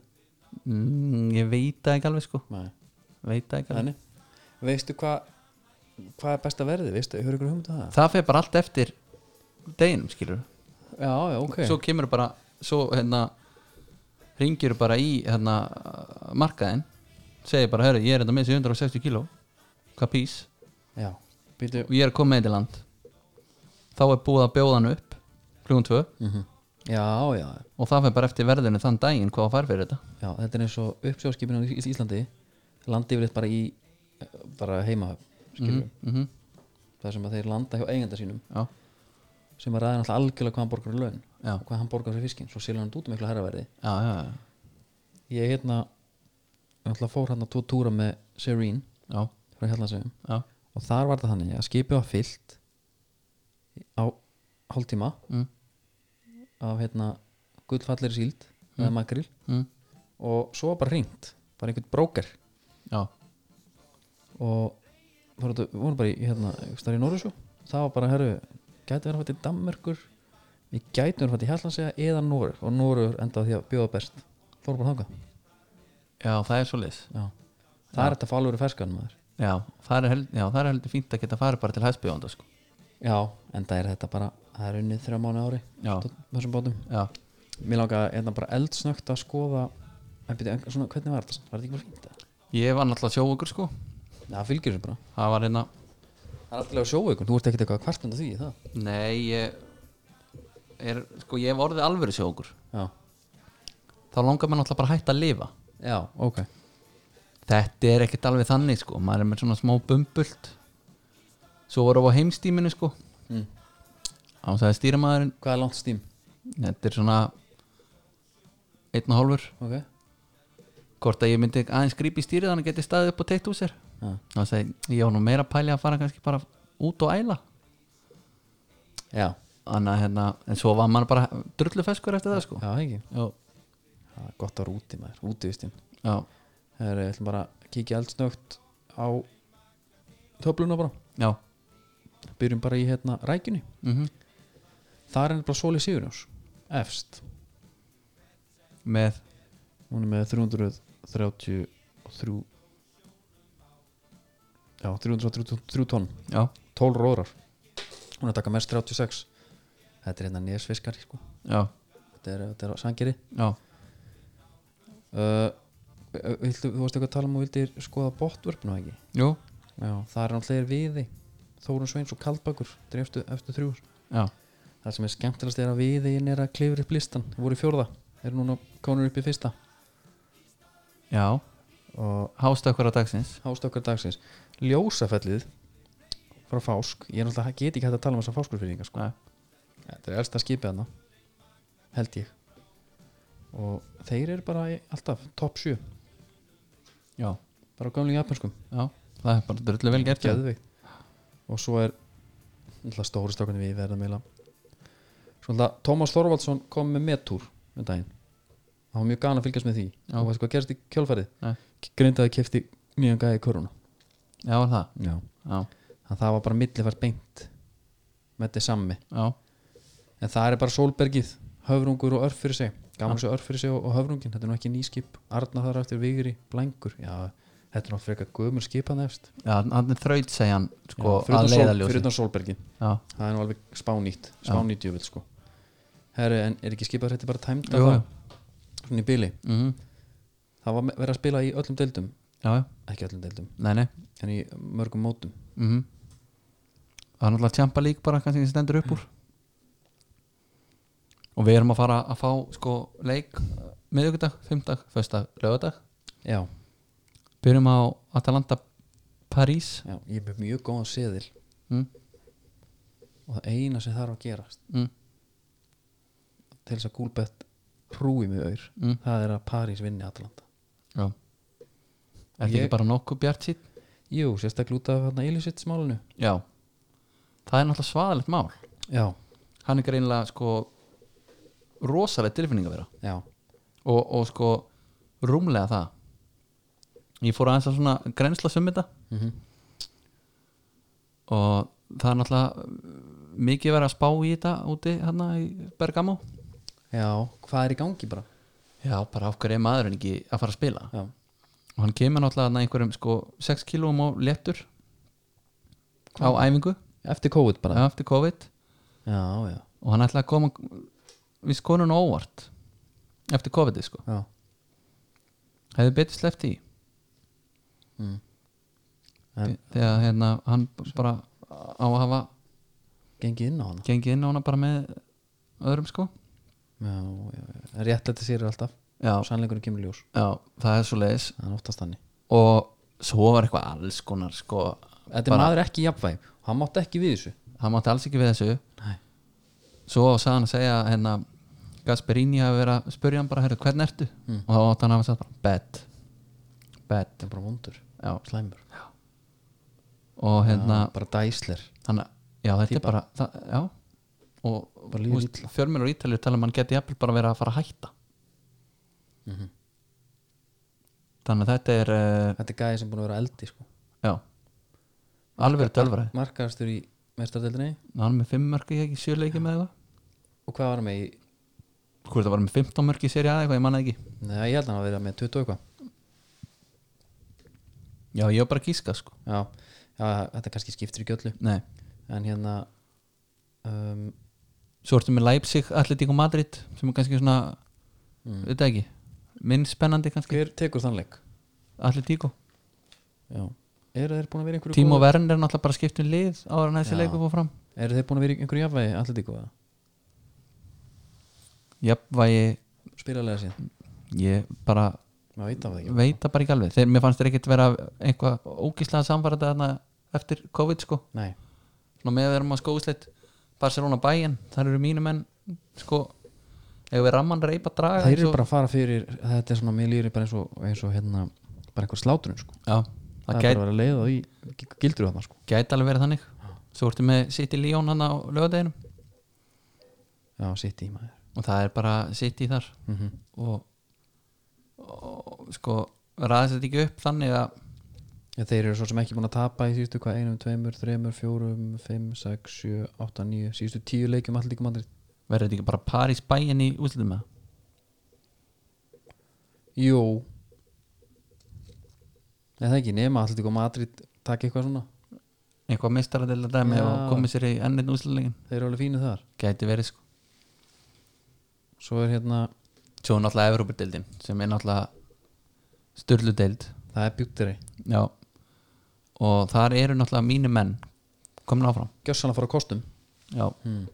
S2: mm, ég veit það ekki alveg sko
S1: Nei,
S2: veit það ekki alveg
S1: þannig Veistu hvað hvað er besta verðið, veistu, hefur ykkur hugmynd að það?
S2: það fer bara allt eftir deginum skilur
S1: Já, já, ok
S2: svo kemur bara svo hérna ringir bara í hérna markaðin segir bara, herru, ég er hérna með 760 kíló hvað pís
S1: Já, býtu
S2: og ég er að koma með þetta í land þá er búið að bjóða hann upp klugum 2
S1: Mhm. Já, já,
S2: og það fer bara eftir verðinu þann daginn hvað það fær fyrir þetta
S1: já, þetta er eins og uppsjóðskipin á Ís- Íslandi landi yfirleitt bara í eh, bara heimahöf mm
S2: mm
S1: það sem að þeir landa hjá eigenda sínum
S2: já,
S1: sem að ræða náttúrulega algjörlega hvað hann borgar í laun
S2: Já.
S1: og hvað hann borgar fyrir fiskinn, svo selur hann þetta út um miklu herraverði
S2: já, já, já,
S1: ég hérna náttúrulega fór hann að tvo túra með Serene
S2: já,
S1: frá Hjallansöfum
S2: já.
S1: og þar var það þannig að skipið var fyllt á hálftíma
S2: Mm.
S1: af hérna gullfallir síld eða makril
S2: Mm.
S1: og svo var bara hringt, bara einhvern bróker
S2: já,
S1: og fór þetta- við vorum bara í hérna, starf í Norðursjó það var bara, herru, gæti verið að fætt í Danmerkur við gætum verið að fætt í Hjallandsega eða Norður og Norður endaði því að bjóða best fór bara þangað
S2: já, það er svo leis
S1: já. það er þetta fálfur í ferskan maður
S2: já, það er, held, já, það er heldur fínt að geta farið bara til hæstbjóðanda sko.
S1: já, en það er þetta bara það er unnið þrjá mánu ári
S2: Já.
S1: stóð- þessum bátum
S2: já,
S1: mér langaði hérna bara eldsnögt að skoða en byrja, en svona, hvernig var þetta? var þetta ekki bara fínt? eða?
S2: ég var náttúrulega sjóugur sko
S1: Já, það fylgir þessu bara
S2: það var hérna
S1: það er alltaf að sjóa ykkur, þú ert ekkert eitthvað kvartund á því er það?
S2: Nei, ég er, sko ég hef orðið alvöru sjókur
S1: já,
S2: þá langar mér náttúrulega bara að hætta að lifa
S1: já, ok
S2: þetta er ekkert alveg þannig sko maður er með svona smá bumbult svo vorum við á heimstíminu sko
S1: mm.
S2: án það er stýramæðurinn
S1: hvað er langt stím?
S2: þetta er svona einn og hálfur
S1: ok,
S2: hvort að ég myndi aðeins grípi í stýrið þannig að geti staðið upp og teitt úr sér
S1: já
S2: þá segi ég á nú meira pæli að fara kannski bara út og æla
S1: Já,
S2: Anna, hérna, en svo var maður bara drullufeskur eftir það sko
S1: já ekki
S2: já,
S1: Það er gott að vera úti maður, útivistinn
S2: já,
S1: Það er, ég ætlum bara að kíkja eldsnögt á töfluna bara
S2: já.
S1: Byrjum bara í hérna rækjunni
S2: Mm
S1: Það er bara Sóli Sigurjóns Efst,
S2: með
S1: hún er með 333 Já, 333 tonn
S2: já,
S1: 12 róðrar Hún er að taka mest 36 Þetta er hérna nesfiskari sko
S2: já,
S1: Þetta er, þetta er á sangeri
S2: já,
S1: uh, viltu, Þú varst eitthvað að tala um og vildir skoða bóttvörpnum ekki?
S2: jú,
S1: Já, það er náttúrulega viði Þórun Sveins og Kaldbakur drefstu eftir þrjúr
S2: já,
S1: Það sem er skemmtilegast er að viðin er að klifra upp listan Þeir voru í fjórða, er núna konur upp í fyrsta
S2: já
S1: og
S2: Hástökkur á dagsins
S1: hástökkar dagsins Ljósafellið frá Fásk Ég er náttúrulega get ekki hægt að tala um þessa Fáskurfyrringa sko.
S2: Nei.
S1: Þetta er elsta skipið hana held ég og þeir eru bara í, alltaf topp 7,
S2: Já,
S1: bara á gamlu japanskum
S2: já, það er bara drullu vel gert
S1: Geðveikt. og svo er náttúrulega stóru strákunni við verðum meila svona Tómas Þorvaldsson kom með metúr um daginn það var mjög gana að fylgjast með því
S2: Já.
S1: og veistu hvað gerst í kjölfærið
S2: Nei.
S1: grindaði kefti nýjan gæði koruna
S2: Já, var það,
S1: já.
S2: já,
S1: það var bara millifært beint með þetta sammi
S2: já,
S1: en það er bara sólbergið, höfrungur og örf fyrir sig gaman svo örf fyrir sig og, og höfrungin þetta er nú ekki nýskip, Arna þar eftir vigri blængur, já þetta er nú frekar gömur skipan efst
S2: já, hann er þraut segjan sko
S1: Já, fyrir
S2: að
S1: utan sól- fyrir
S2: leiðaljósi
S1: utan sólbergið
S2: Já,
S1: það er nú alveg spánýtt spánýtt jöfell sko Herri, en er ekki skipað þetta bara tæmt
S2: Jú,
S1: að það svona í byli,
S2: mm
S1: það var me- verið að spila í öllum deildum
S2: já, já,
S1: ekki öllum deildum,
S2: nei, nei
S1: en í mörgum mótum
S2: mm Það er náttúrulega tjampa lík bara kannski sem stendur upp úr Og við erum að fara að fá sko leik eh, miðvikudag, fimmtag, föstudag, lögadag
S1: já,
S2: Byrjum á Atalanta París
S1: já ég er með mjög góðan seðil
S2: mm.
S1: og það eina sem þarf að gerast
S2: Mm.
S1: til þess að gúlbett hrúi mjög auður
S2: Mm.
S1: það er að París vinni Atalanta
S2: já Er þetta
S1: Ég-
S2: ekki bara nokkuð bjart sítt?
S1: Jú, sérstaklega út af hérna Ilisitt smálinu
S2: Já Það er náttúrulega svaðalegt mál
S1: Já,
S2: Hann er greinilega sko rosalegt tilfinning að vera
S1: já,
S2: og, og sko rúmlega það Ég fór aðeins að svona grensla um þetta
S1: mm
S2: og það er náttúrulega uh, mikið verið að spá í þetta úti hann í Bergamo
S1: já Hvað er í gangi bara?
S2: Já, bara af hverju er maðurinn ekki að fara að spila
S1: Já,
S2: og hann kemur náttúrulega hann einhverjum sko 6 kílóum á léttur á æfingu
S1: eftir COVID bara
S2: eftir COVID
S1: Já, já,
S2: og hann ætlaði að koma við skonun óvart eftir COVID sko,
S1: já.
S2: hefði betur sleppt í
S1: Mm. En
S2: þegar hérna hann bara á að hafa
S1: gengið inn á hana
S2: gengið inn á hana bara með öðrum sko
S1: Já, já, já Rétt þetta sér alltaf
S2: já,
S1: Sannleikurinn kemur í ljós
S2: já það er svo leiðis
S1: Það er oftast þannig
S2: og svo var eitthvað alls konar sko,
S1: Þetta er maður ekki í jafnvæg Hann mátti ekki við þessu
S2: hann mátti alls ekki við þessu
S1: Nei.
S2: svo sagði hann að segja hérna, Gasperini hafi verið að spurja hann bara "Heyrðu, hvern ertu og þá átti hann að hafa sagt bara bed bed
S1: Þetta er bara vondur
S2: já.
S1: Slæmur
S2: og hérna
S1: Já, Bara dæsler
S2: hann, já þetta er bara það, já og
S1: Bara líður
S2: fjörmjör og ítalið tala um að hann geti jafnvel bara verið að fara að hætta þannig að þetta er uh,
S1: Þetta er gæði sem búin að vera á eldi sko.
S2: já alveg dölvræði
S1: Markastur í mestardeldinni
S2: hann er með 5 mörki ekki 7 leiki með eitthvað
S1: Og hvað var hann með í
S2: hvort það var með 15 mörg í seri aðeins eitthvað, ég manna ekki
S1: Nei, ég held að hann að vera með 20 og eitthvað
S2: já, ég var bara að gíska sko
S1: já, já, þetta kannski skiptir í göllu
S2: Nei.
S1: En hérna um,
S2: svo ertu með Leipzig, Atletico Madrid sem er kannski svona,
S1: Mm.
S2: þetta ekki minn spennandi kannski,
S1: Hver tekur þann leik?
S2: Atletico
S1: Já Eru þeir búin að vera í einhverju
S2: Timo
S1: góðu-
S2: Werner er náttúrulega bara skipt um lið ára en þessi
S1: Já.
S2: leiku fór fram
S1: Eru þeir búin að vera í einhverju jafnvægi allir tíku að
S2: jafnvægi,
S1: spilalega síðan?
S2: ég bara
S1: Maður veit af það ekki
S2: veit það bara ekki alveg þeir, mér fannst þeir ekkert vera eitthvað ógíslega samfærað þarna eftir COVID sko
S1: Nei,
S2: svona með að við erum að skóðsleitt Barcelona bæinn, þar eru mínu menn sko, ef við ramman reypa draga
S1: þeir
S2: eins
S1: eru
S2: og-
S1: bara að fara fyrir Þetta er svona, mér lýri bara eins og, eins og hérna, bara einhver slátrun sko.
S2: Já,
S1: Það
S2: það
S1: er bara
S2: gæti
S1: að vera að leiða í gildur þarna sko.
S2: gæti alveg verið þannig svo ertu með City Leon hann á lögadeginum
S1: Já, sitt í maður
S2: og það er bara City þar
S1: mm
S2: og, og sko ræðis þetta ekki upp þannig að
S1: Þeir eru svo sem ekki búin að tapa í síðustu hvað einum, tveimur, þreimur, fjórum, fimm, sex, sjö, átta, níu síðustu tíu leikjum allir tíku mandri
S2: verður þetta ekki bara Paris bæinn í úslutum með það?
S1: Jú Nei það ekki, nema allir tíku Madrid takk eitthvað svona,
S2: eitthvað mistaradeilda dæmi
S1: Já.
S2: og komið sér í enninn úslulegin
S1: þeir eru alveg fínu þar
S2: gæti verið sko
S1: Svo er hérna,
S2: svo er náttúrulega Evrópadeildin sem er náttúrulega styrludeild
S1: það er bjútteri
S2: já og þar eru náttúrulega mínu menn komin áfram
S1: Gjössan að fara á kostum
S2: já
S1: hmm.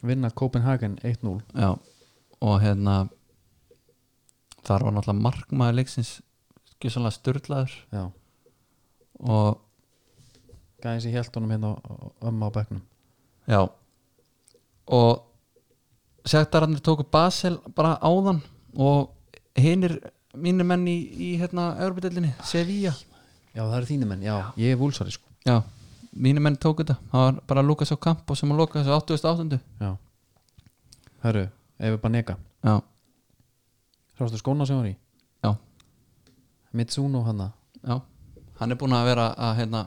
S1: Vinna Copenhagen 1-0
S2: Já, og hérna þar var náttúrulega markmaður leiksins gjössalega styrlaður
S1: Já,
S2: og
S1: gæði sér hjælt honum hérna á- á- ömmu á bekknum
S2: já og sektararnir tóku Basel bara áðan og hinir mínir menn í, í hérna Europadellinni, Sevilla
S1: Já, það eru þínu menn, já, ég er vúlsari sko
S2: Já, mínir menn tóku þetta það var bara Lukas á kamp og sem að Lukas á 88.
S1: Já Hörru, ef við bara neka
S2: Já,
S1: Sástu skóna sem var í
S2: já,
S1: Mitsuno hana,
S2: já hann er búin að vera að hérna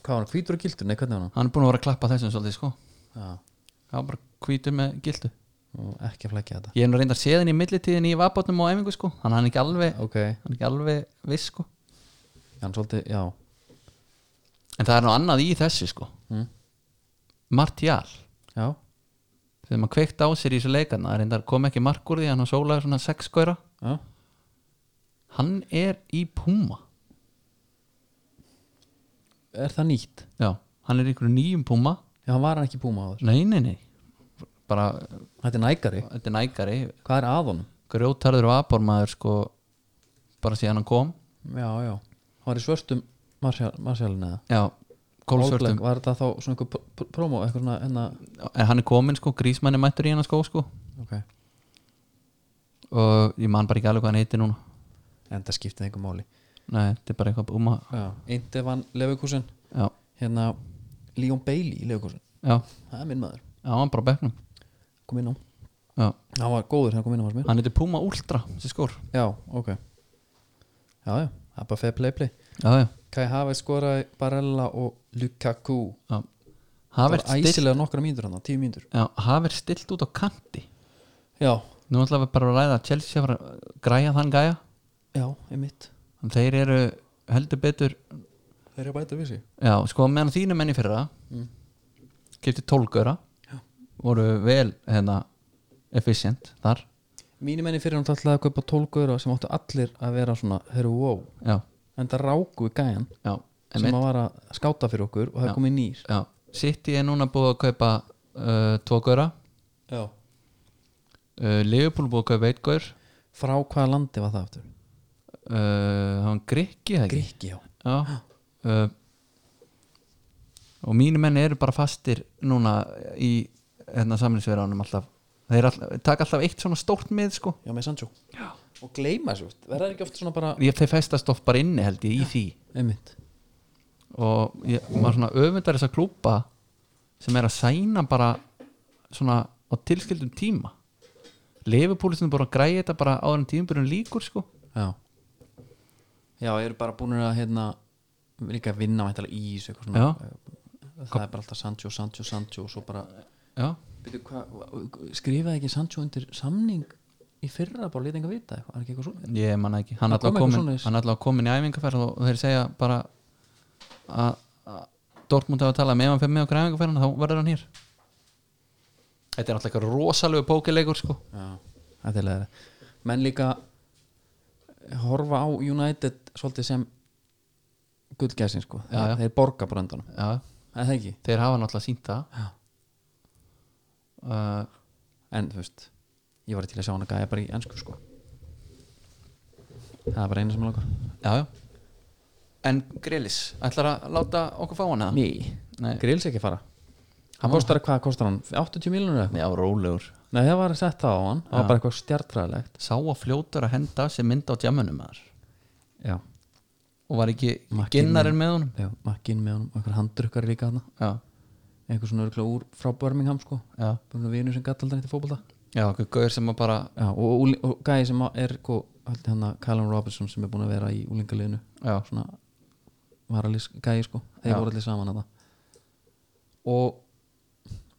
S1: hvað var hann, hvítur og gildur? Nei, hvernig var hann?
S2: hann er búin að vera að klappa þessum svolítið sko
S1: Já,
S2: já, bara hvítur með gildu
S1: og ekki að flækja þetta
S2: Ég er nú reyndar séðin í millitíðin í vapotnum og æfingu sko Þannig að hann er ekki alveg,
S1: Ok, já,
S2: hann er ekki alveg viss sko
S1: hann svolítið, já
S2: En það er nú annað í þessu sko
S1: mm.
S2: Martial
S1: Já,
S2: Þegar maður kveikt á sér í þessu leikarna Reyndar kom ekki mark úr því Hann sólaði svona sex skoira
S1: já
S2: Hann er í Puma
S1: er það nýtt?
S2: Já, hann er í einhverju nýjum Puma
S1: Já, hann var hann ekki Puma áður
S2: Nei, nei, nei Bara,
S1: Þetta er nækari,
S2: þetta er nægari
S1: hvað er að honum?
S2: Grjótarður og abormaður sko Bara síðan hann kom
S1: Já, já, hann var í svörstum Marsjálin eða
S2: Já,
S1: All Black,
S2: kólsvörtum
S1: Var þetta þá hérna? svona einhver pr- pr- promo, eitthvað svona enna
S2: En hann er komin sko, grísmann er mættur í hann sko, sko
S1: Ok,
S2: og ég man bara ekki alveg hvað hann heitir núna
S1: en það skiptið einhver máli
S2: nei, þetta er bara eitthvað um að
S1: Eindið vann Leverkusen
S2: já,
S1: hérna Leon Bailey í Leverkusen
S2: já,
S1: það er minn maður,
S2: já, hann bara á bekknum
S1: kom inn á
S2: já,
S1: hann var góður þegar hann kom inn á mér
S2: hann heitir Puma Ultra sem skór,
S1: já, ok já, já, það er bara fair play play
S2: já, já,
S1: Kai Havertz skoraði Barella og Lukaku
S2: já
S1: það
S2: Havert
S1: var
S2: stilt,
S1: æsilega nokkra mínútur hann, tíu mínútur
S2: já, Havert stilt út á kanti
S1: já,
S2: nú ætlaðum við bara að ræða að Chelsea var að græja þann gæja
S1: já, einmitt
S2: en þeir eru heldur betur
S1: þeir eru að bæta við sig
S2: já, sko meðan þínu menni fyrra
S1: Mm.
S2: kefti tólgöra
S1: Já.
S2: voru vel hérna efficient þar
S1: mínu menni fyrir hann ætlaði að kaupa 12 góður sem áttu allir að vera svona, herru, wow
S2: já,
S1: en það ráku við gæjan
S2: já,
S1: sem að var að skáta fyrir okkur og það
S2: Já.
S1: er komið nýr
S2: já. City er núna búið að kaupa uh, tvo góra
S1: já.
S2: uh, Liverpool búið að kaupa eitt gór uh,
S1: frá hvaða landi var það aftur?
S2: það var Uh, Grikki eða ekki?
S1: Gríki, já
S2: já uh, og mínu menni eru bara fastir núna í hérna samlingsverðanum alltaf þeir alltaf, taka alltaf eitt svona stórt mið sko
S1: já, með Sancho já. og gleyma þessu, verða þeir ekki oft svona bara
S2: ég þeir festast oft bara inni held ég í því
S1: einmitt,
S2: og ég, maður svona öfundar þessa klúpa sem er að sæna bara svona á tilskildum tíma Leifupúlistin er búin að græja þetta bara á þeim tímburinn líkur sko
S1: já já, eru bara búinir að hérna líka að vinna mæntalega í þessu eitthvað svona
S2: Já.
S1: það er bara alltaf Sancho, Sancho, Sancho og svo bara
S2: já,
S1: Byrju, hva, skrifaði ekki Sancho undir samning í fyrra bara lítið enga vita eitthvað, er ekki eitthvað svona
S2: ég manna ekki hann
S1: Það kom
S2: allavega
S1: eitthvað
S2: komin,
S1: svoleiðis.
S2: hann allavega komin í æfingarferð og þeir segja bara að að Dortmund hafa að tala með hann fyrir með okkur æfingarferðina þá verður hann hér þetta er alltaf eitthvað rosalegu pókileikur sko
S1: Já, þetta er leðri menn líka horfa á United svolítið sem gullgæsin sko
S2: Já, já.
S1: þeir borga bröndunum,
S2: já,
S1: er það ekki
S2: þeir hafa náttúrulega sínt það
S1: já.
S2: uh,
S1: en þú veist, ég var til að sjá hann að gæja bara í ennsku sko það er bara eina sem langar
S2: Já, já En Grelis, ætlar að láta okkur fá hana?
S1: ný,
S2: Nei.
S1: grills ekki fara hann kostar, hvað kostar hann, 80 miljonur eitthvað
S2: Já, rólegur
S1: nei, það var sett það á hann, það var bara eitthvað stjartræðilegt
S2: Sá að fljótur að henda sem mynda á djamunum þar
S1: já,
S2: Og var ekki
S1: Makkinn.
S2: ginnarinn með honum
S1: já, makkinn með honum og einhver handdrukkar líka hann
S2: Já,
S1: einhver svona örgulega úr frá Birmingham sko
S2: já
S1: bara vinur sem gætt aldrei til fótbolta
S2: Já, okkur gaur sem að bara
S1: Já, og, og, og gæði sem að er ko- held hann að Callum Robinson sem er búin að vera í úlingaliðinu
S2: Já,
S1: svona varalís gæði sko, þeir
S2: Já.
S1: voru allir saman að og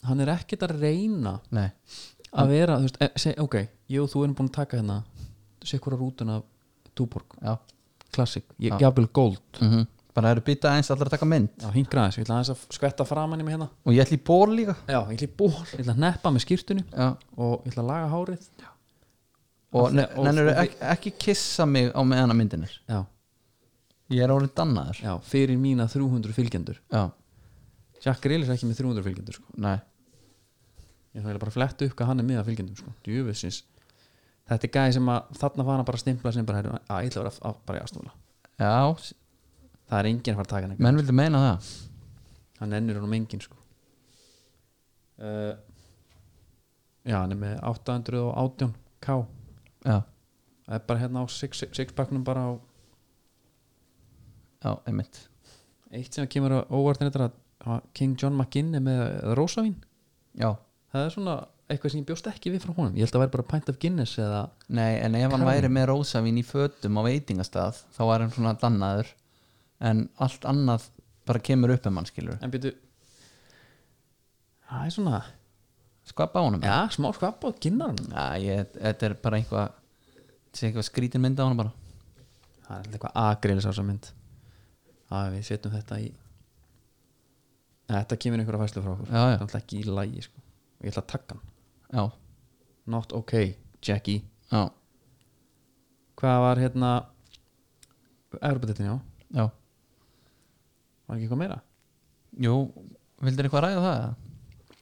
S1: hann er ekkert að reyna
S2: nei
S1: að vera, þú veist, e, seg, ok ég og þú erum búin að taka hérna sé hvora rútuna af Tuborg
S2: Já,
S1: Classic, ég
S2: Já.
S1: gafil gold
S2: mm bara eru býta eins allar að taka mynd
S1: Já, hingra aðeins, ég ætla aðeins að skvetta framan í mig hérna
S2: Og ég ætla í ból líka
S1: Já, ég ætla í ból, ég ætla að neppa með skýrtunni
S2: Já
S1: og ég ætla að laga hárið
S2: Og
S1: Og-
S2: ne-
S1: og-
S2: nennirðu
S1: og-
S2: ekki, ekki kissa mig á meðan að myndin er
S1: Já,
S2: Ég er orðin dannaður
S1: já, fyrir mína 300 fylgjendur
S2: Já,
S1: Jack Grealish er ekki með 300 fylgjendur sko
S2: nei
S1: ég ætla bara að fletta upp hvað hann er með að fylgjendum sko. djöfusins þetta er gæði sem að þarna var hann bara að stimpla sem bara "Heyrðu, að ég ætla að vera að- að bara í aðstofla
S2: Já, s-
S1: það er enginn að fara að taka hann ekki.
S2: menn vildu meina það
S1: hann ennur hann um enginn sko. uh, já hann er með 818 k
S2: Já,
S1: það er bara hérna á six- sixpacknum bara á
S2: já, einmitt
S1: eitt sem kemur á óvart er þetta að King John McGinn er með eða Rósavín
S2: Já,
S1: það er svona eitthvað sem ég bjóst ekki við frá honum ég held að það væri bara pint of Guinness eða
S2: Nei, en ef hann
S1: Kram.
S2: væri með rósavín í fötum á veitingastað þá var hann svona dannaður en allt annað bara kemur upp um hann skilur
S1: en byrju það er svona
S2: skvapa á honum
S1: Já, smá skvapa og ginnar hann
S2: Já, ég, þetta er bara eitthvað þetta er eitthvað skrítin mynd á hann bara
S1: Það er alltaf eitthvað agrilis á þessa mynd að við setjum þetta í Nei, Þetta kemur einhverja fæslu frá okkur
S2: Já,
S1: Það
S2: já.
S1: er alltaf ekki í lagi sko. Ég ætla að taka hann
S2: Já,
S1: Not okay, Jackie
S2: já,
S1: Hvað var hérna Evropadeltin, já,
S2: já
S1: var ekki eitthvað meira?
S2: Jú, vildir eitthvað ræða það? eða?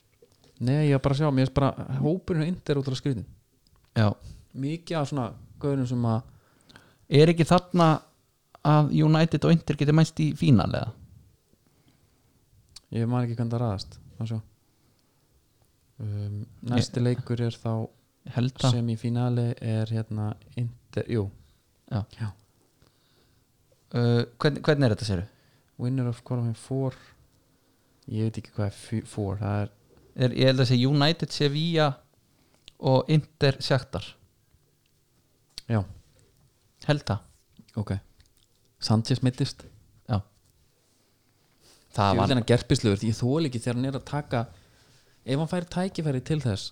S1: Nei, ég var bara að sjá, mér er bara hópurinn og yndir út á skrýtin
S2: Já,
S1: Mikið af svona gauðurum sem að
S2: er ekki þarna að United og Inter geti mæst í fínalega?
S1: ég man ekki hvernig það raðast Má sjá um, Næsti leikur er þá
S2: held að
S1: sem í finali er hérna inter, jú,
S2: Já.
S1: já
S2: uh, hvern, hvernig er þetta séru?
S1: winner of qualifying 4 ég veit ekki hvað er 4 það er,
S2: Er, ég held að segja United, Sevilla og Inter Shakhtar
S1: já,
S2: held það
S1: ok Sanchez mittist
S2: Já. það
S1: ég vil
S2: var
S1: hérna gerpisluður, ég þól ekki þegar hann er að taka ef hann fær tækifæri til þess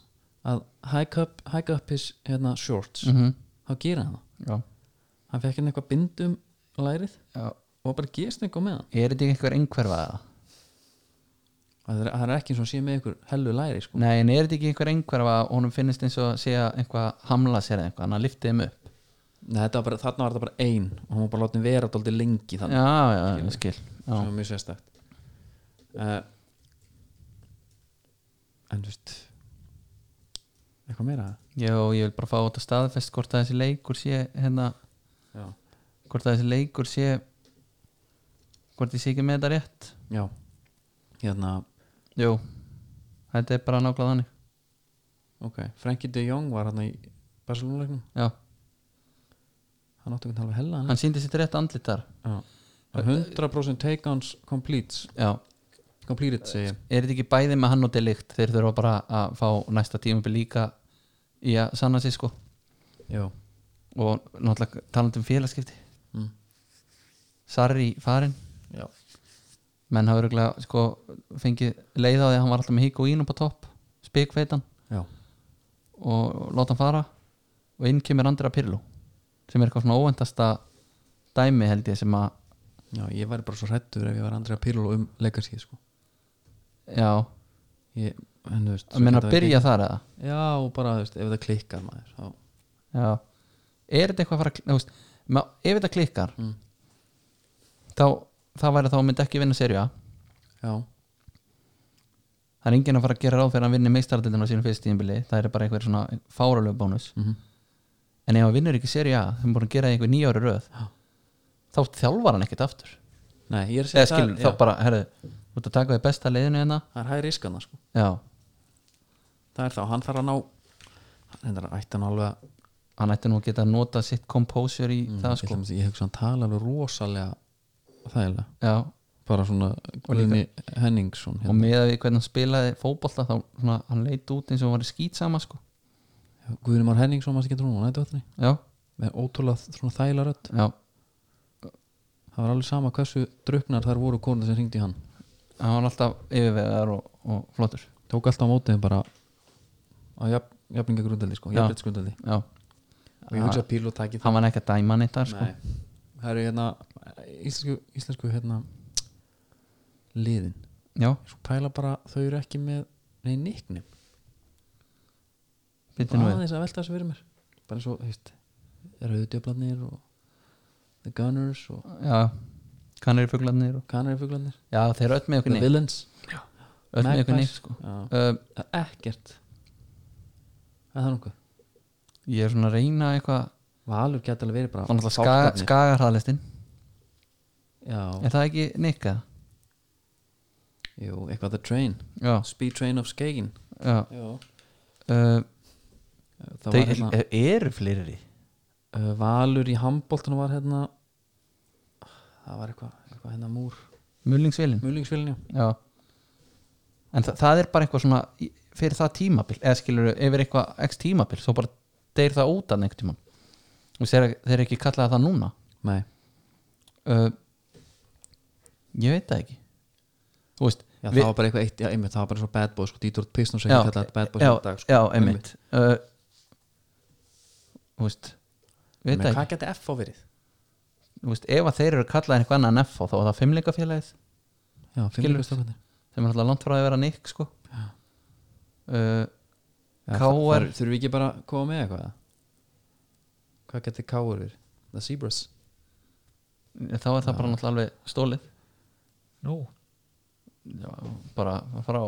S1: að hike up, hike up his hérna, shorts,
S2: mm -hmm.
S1: þá gera hann það
S2: já,
S1: hann fekk hérna eitthvað bindum lærið
S2: já.
S1: og bara gerst eitthvað með hann
S2: er þetta ekki einhver einhverfa eða?
S1: það er, það er ekki eins og hann sé með ykkur hellu læri sko.
S2: nei, en er þetta ekki einhver einhverfa að honum finnist eins og sé að einhvað hamla sér eða eitthvað, hann að lyfti þeim upp
S1: Nei, þetta var bara, þarna var þetta bara ein og hann var bara látið vera dálítið lengi þannig
S2: já, já, já, skil
S1: sem
S2: já.
S1: var mjög sérstætt uh, en þú veist eitthvað meira
S2: Já, og ég vil bara fá þetta staðfest hvort að þessi leikur sé hérna,
S1: já,
S2: hvort að þessi leikur sé hvort ég sé ekki með þetta rétt
S1: já. hérna,
S2: Jú, þetta er bara nákvæmlega þannig
S1: ok Frankie de Jong var hann í Barcelona-leiknum
S2: Já,
S1: hann átti einhvern halvað hella hann
S2: hann síndi sitt rétt andlit þar
S1: Já. 100% takedowns completes
S2: Já,
S1: completed segi ég
S2: er þetta ekki bæði með hann og delikt þeir þurfa bara að fá næsta tímabil líka í að sanna sig sko
S1: já,
S2: og náttúrulega talandi um félagskipti
S1: mm.
S2: Sarri farinn,
S1: já.
S2: menn hafa örgulega sko fengið leið á því að hann var alltaf með hík og ínum á topp, spikveitan
S1: já.
S2: og láta hann fara og inn kemur Andra Pirlo sem er eitthvað svona óvendasta dæmi held ég sem að
S1: Já, ég væri bara svo hrættur ef ég var Andrea Pirlo um leikarskið sko
S2: já,
S1: ég, en þú veist
S2: að menna
S1: þetta
S2: að
S1: var
S2: byrja þar eða
S1: ekki- Já, og bara, þú veist, ef það klikkar maður þá,
S2: já, er þetta eitthvað að fara að kl- þú veist, ma- ef þetta klikkar
S1: mm.
S2: þá, þá væri þá myndi ekki vinna serjua
S1: Já,
S2: það er enginn að fara að gera ráð fyrir að hann vinni meistaraldildin á sínum fyrst tíðinbili, það er bara einhver svona fáralöf bónus,
S1: mhm
S2: en ef hann vinnur ekki serjua, þeim búin að gera það í einhver nýja ári röð
S1: Já.
S2: þá þjálfar hann ekkert aftur
S1: Nei, ég er að segja
S2: eða skilur, þá
S1: það,
S2: bara, herðu, þú ert að taka því besta leiðinu hérna,
S1: já, það er hægri iskana sko.
S2: já,
S1: Það er þá, hann þarf að ná hann er að ætta hann alveg að
S2: hann ætti nú að geta að nota sitt composure í það
S1: ég,
S2: sko
S1: ætla að segja, ég hugsa hann tala alveg rosalega þægilega
S2: já,
S1: bara svona Guðni Henningsson
S2: og
S1: hérna.
S2: með að við hvernig hann spilaði fótbolta þá svona, hann leit út eins og hann var í skýt sama sko
S1: Guðni Már Henningsson, maður ekki trúna, hann ætti vatni
S2: já,
S1: með ótrúlega svona þægilega rödd
S2: já,
S1: það var alveg sama hversu druknar þar voru konur sem ringdi hann
S2: hann var alltaf yfirvegar og, og flottur
S1: tók alltaf á mótið bara á jafn, jafninga grundeldi sko,
S2: Já.
S1: jafnleitt grundeldi
S2: já,
S1: og ég hugsa að Pílo taki það
S2: hann var ekki að dæma neitt þar sko
S1: Nei. það eru hérna íslensku, íslensku hérna liðin
S2: já,
S1: svo pæla bara þau eru ekki með neinn nicknum
S2: býttu nú
S1: bara
S2: við
S1: aðeins að velta þessu fyrir mér bara eins og, þú veist, rauðdjöflarnir og the gunners og
S2: já, kannir í fuglarnir og...
S1: kanarifuglarnir
S2: já, þeir eru öll með
S1: the
S2: ykkur neitt
S1: villains
S2: öll með ykkur
S1: Magpies.
S2: neitt sko
S1: Já.
S2: uh,
S1: Það er ekkert það er nokkuð
S2: ég er svona að reyna eitthvað
S1: Valur gæti alveg verið bara
S2: hann alltaf skaga,
S1: fálkarnir.
S2: skagarhæðlistin
S1: Já,
S2: er það ekki nikka?
S1: jú, eitthvað the train
S2: já,
S1: Speed Train of Skegin
S2: já uh,
S1: Það
S2: þau
S1: var hérna
S2: er, eru fleiri
S1: uh, Valur í handbóltunum var hérna Það var eitthvað, eitthvað hérna múr
S2: mullingsvilin
S1: Múlingsfélinu
S2: Já En þa það er bara eitthvað svona í- fyrir það tímabil, eða skilur yfir eitthvað x tímabil, svo bara deyr það út að neitt tíma og þeir, þeir ekki kallaða það núna
S1: Nei,
S2: uh, Ég veit það ekki Þú veist
S1: já,
S2: við-
S1: það var bara eitthvað eitt Já, einmitt, það var bara svo bad boy sko Dítur Pistons ekki kallað þetta bad boy
S2: já,
S1: í dag, sko.
S2: já, einmitt uh, Þú veist ég
S1: Men
S2: Veit það
S1: hvað
S2: ekki,
S1: gæti F á verið?
S2: þú veist, ef að þeir eru kallaðið eitthvað annað en F þá er það fimmleikafélagið
S1: Já,
S2: Skilur.
S1: fimmleikastrákarnir.
S2: sem er alltaf langt frá að vera nikk sko
S1: Já. Já,
S2: uh, KR.
S1: það- það- Þurfum við ekki bara að koma með eitthvað? Hvað gæti Káur verið? The Zebras
S2: Þá er það bara náttúrulega alveg stólið
S3: Nú,
S2: já, bara frá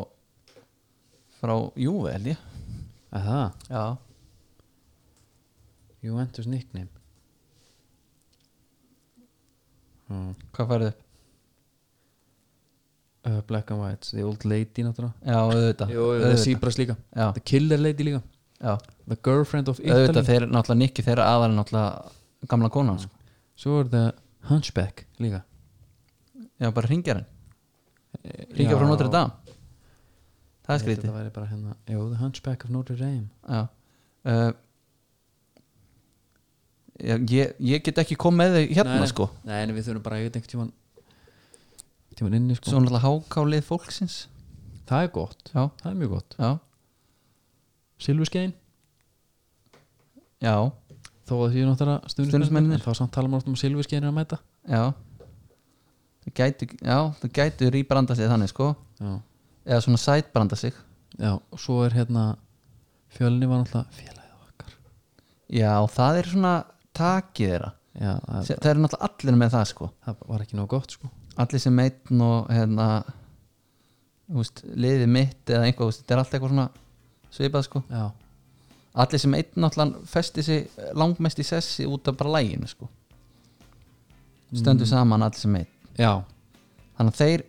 S2: frá Júve held ég
S1: Að það,
S2: já,
S1: Juventus nickname Hmm.
S2: hvað færðu upp?
S1: Uh, black and White, The Old Lady náttúrulega
S2: já, auðvitað,
S1: Jú, The
S2: auðvitað.
S1: Zebras líka
S2: já,
S1: The Killer Lady líka
S2: já,
S1: The Girlfriend of Italy
S2: auðvitað þeir náttúrulega nikki þeirra aðar er náttúrulega gamla kona hans, sko.
S1: Svo er það Hunchback líka
S2: já bara ringjar hann ringjar
S1: Já.
S2: frá Notre Dame
S1: Ég
S2: það er
S1: held að
S2: skrítið
S1: þetta væri bara hérna Jú, The Hunchback of Notre Dame
S2: já uh, ég, ég get ekki kom með þau hérna
S1: Nei, nei.
S2: sko
S1: Nei, en við þurfum bara að eitthvað tíman tíman inni sko
S2: svo náttúrulega hákálið fólksins
S1: Það er gott,
S2: já,
S1: það er mjög gott
S2: já,
S1: Silvuskein,
S2: já,
S1: þó að því er náttúrulega
S2: Stuðningsmennirnir.
S1: stuðnismennir Þá samt tala maður oft um að Silvuskein er að mæta
S2: já það gætu, já, það gætu rýbranda sig þannig sko
S1: Já,
S2: eða svona sætbranda sig
S1: já og svo er hérna Fjölni var náttúrulega félagið okkar
S2: já, það er svona takið þeirra
S1: Já, það,
S2: Se- það eru náttúrulega allir með það sko
S1: það var ekki nóg gott sko
S2: allir sem einn og hérna þú veist, liðið mitt eða einhvað, þú veist, þetta er allt eitthvað svona svipað sko,
S1: Já,
S2: allir sem einn náttúrulega festi sig langmest í sessi út af bara læginu sko stöndu saman allir sem einn
S1: Mm, já
S2: þannig að þeir,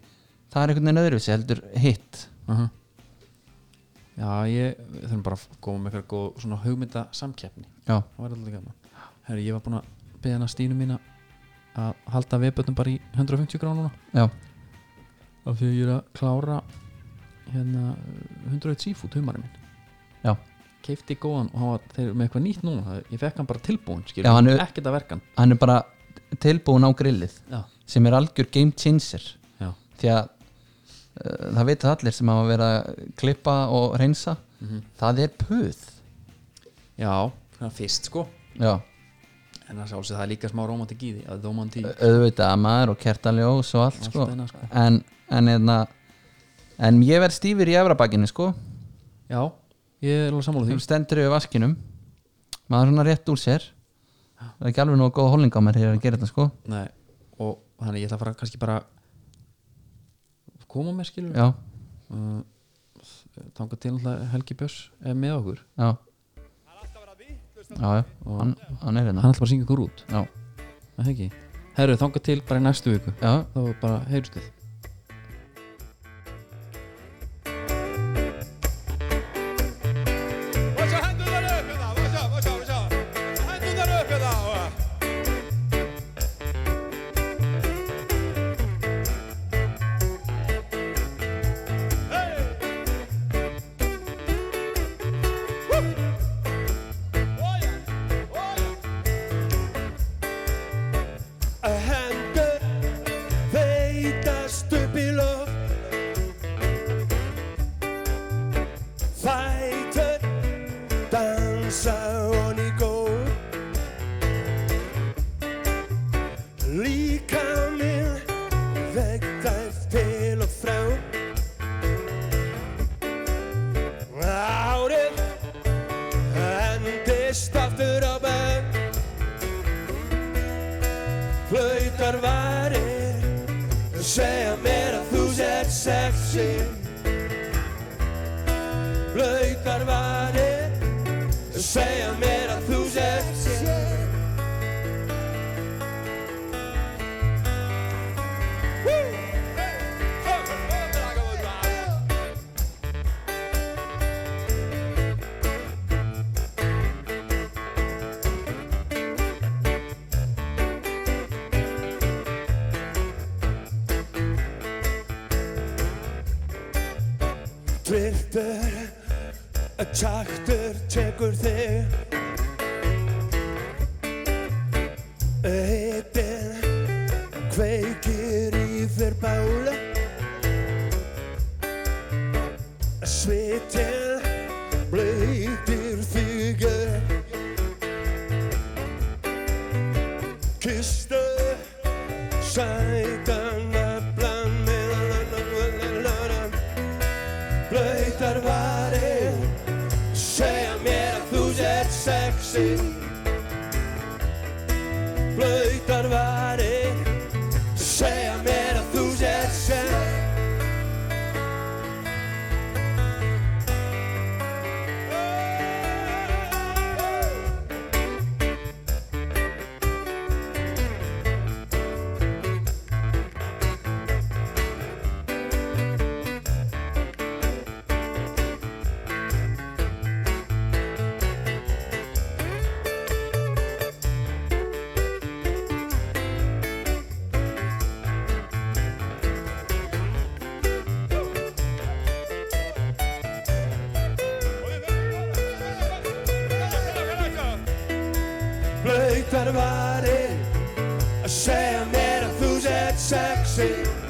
S2: það er einhvern veginn öðruvísi heldur hitt,
S1: uh Já, ég við þurfum bara að koma með eitthvað góð svona hugmynda samkeppni
S2: já,
S1: það var alltaf gaman Herri, ég var búin að beða hana Stínu mína að halda viðbötnum bara í 150 gránuna
S2: já,
S1: af því að ég er að klára hérna uh, 101 seafood humari minn
S2: Já.
S1: keifti góðan og hann var þeir eru með eitthvað nýtt núna það- ég fekk hann bara tilbúin skilur,
S2: Já, hann er-
S1: ekkert að verkan
S2: hann er bara tilbúin á grillið
S1: já,
S2: sem er algjör game changer
S1: já,
S2: því að uh, það vita allir sem hafa verið að klippa og reynsa það er puð
S1: já svona fyrst sko
S2: já,
S1: en það sjálfsög það er líka smá romantik í því að romantik
S2: auðvitað að maður og kertaljós og allt
S1: Allt
S2: sko.
S1: hennar, sko.
S2: en, en, en, en ég verð stífur í efrabakinni sko.
S1: já, ég er alveg sammála því
S2: þú stendur yfir vaskinum maður er svona rétt úr sér það er ekki alveg nógu góð holning á mér þegar ég er að gera þetta sko.
S1: Nei, og þannig ég ætla að fara kannski bara koma með skilur
S2: já,
S1: uh, þangað til náttúrulega Helgi Björs er með okkur
S2: já já, já, hann, hann er
S1: hann
S2: hérna
S1: ætla bara að syngja okkur út
S2: já,
S1: er það ekki? herru þangað til bara í næstu viku
S2: já
S1: þá er bara heyrstuð
S3: Vaša hendurnar upp hérna, vaša, vaša, vaša Hendurnar upp hérna Hey! Woo! Oh yeah, oh yeah. Hendur veitast upp í loft Fætur dansa hon í gól Líka minn vegtæft til og frá Árið endist aftur á bæk Flautar varir segja mér að þú sér sexy blöytar varir segja mér að þú sér sér Tvirtur, tjaktur, tekur þig Hittir, kveikir í þér bála Svitir, blöytir þigur Kistu, sætan, naflan, meðan, blöytar varir segja mér að þú sér sexy blöytar varir segja mér að þú sér sexy hverfari að segja mér að þú sett sexy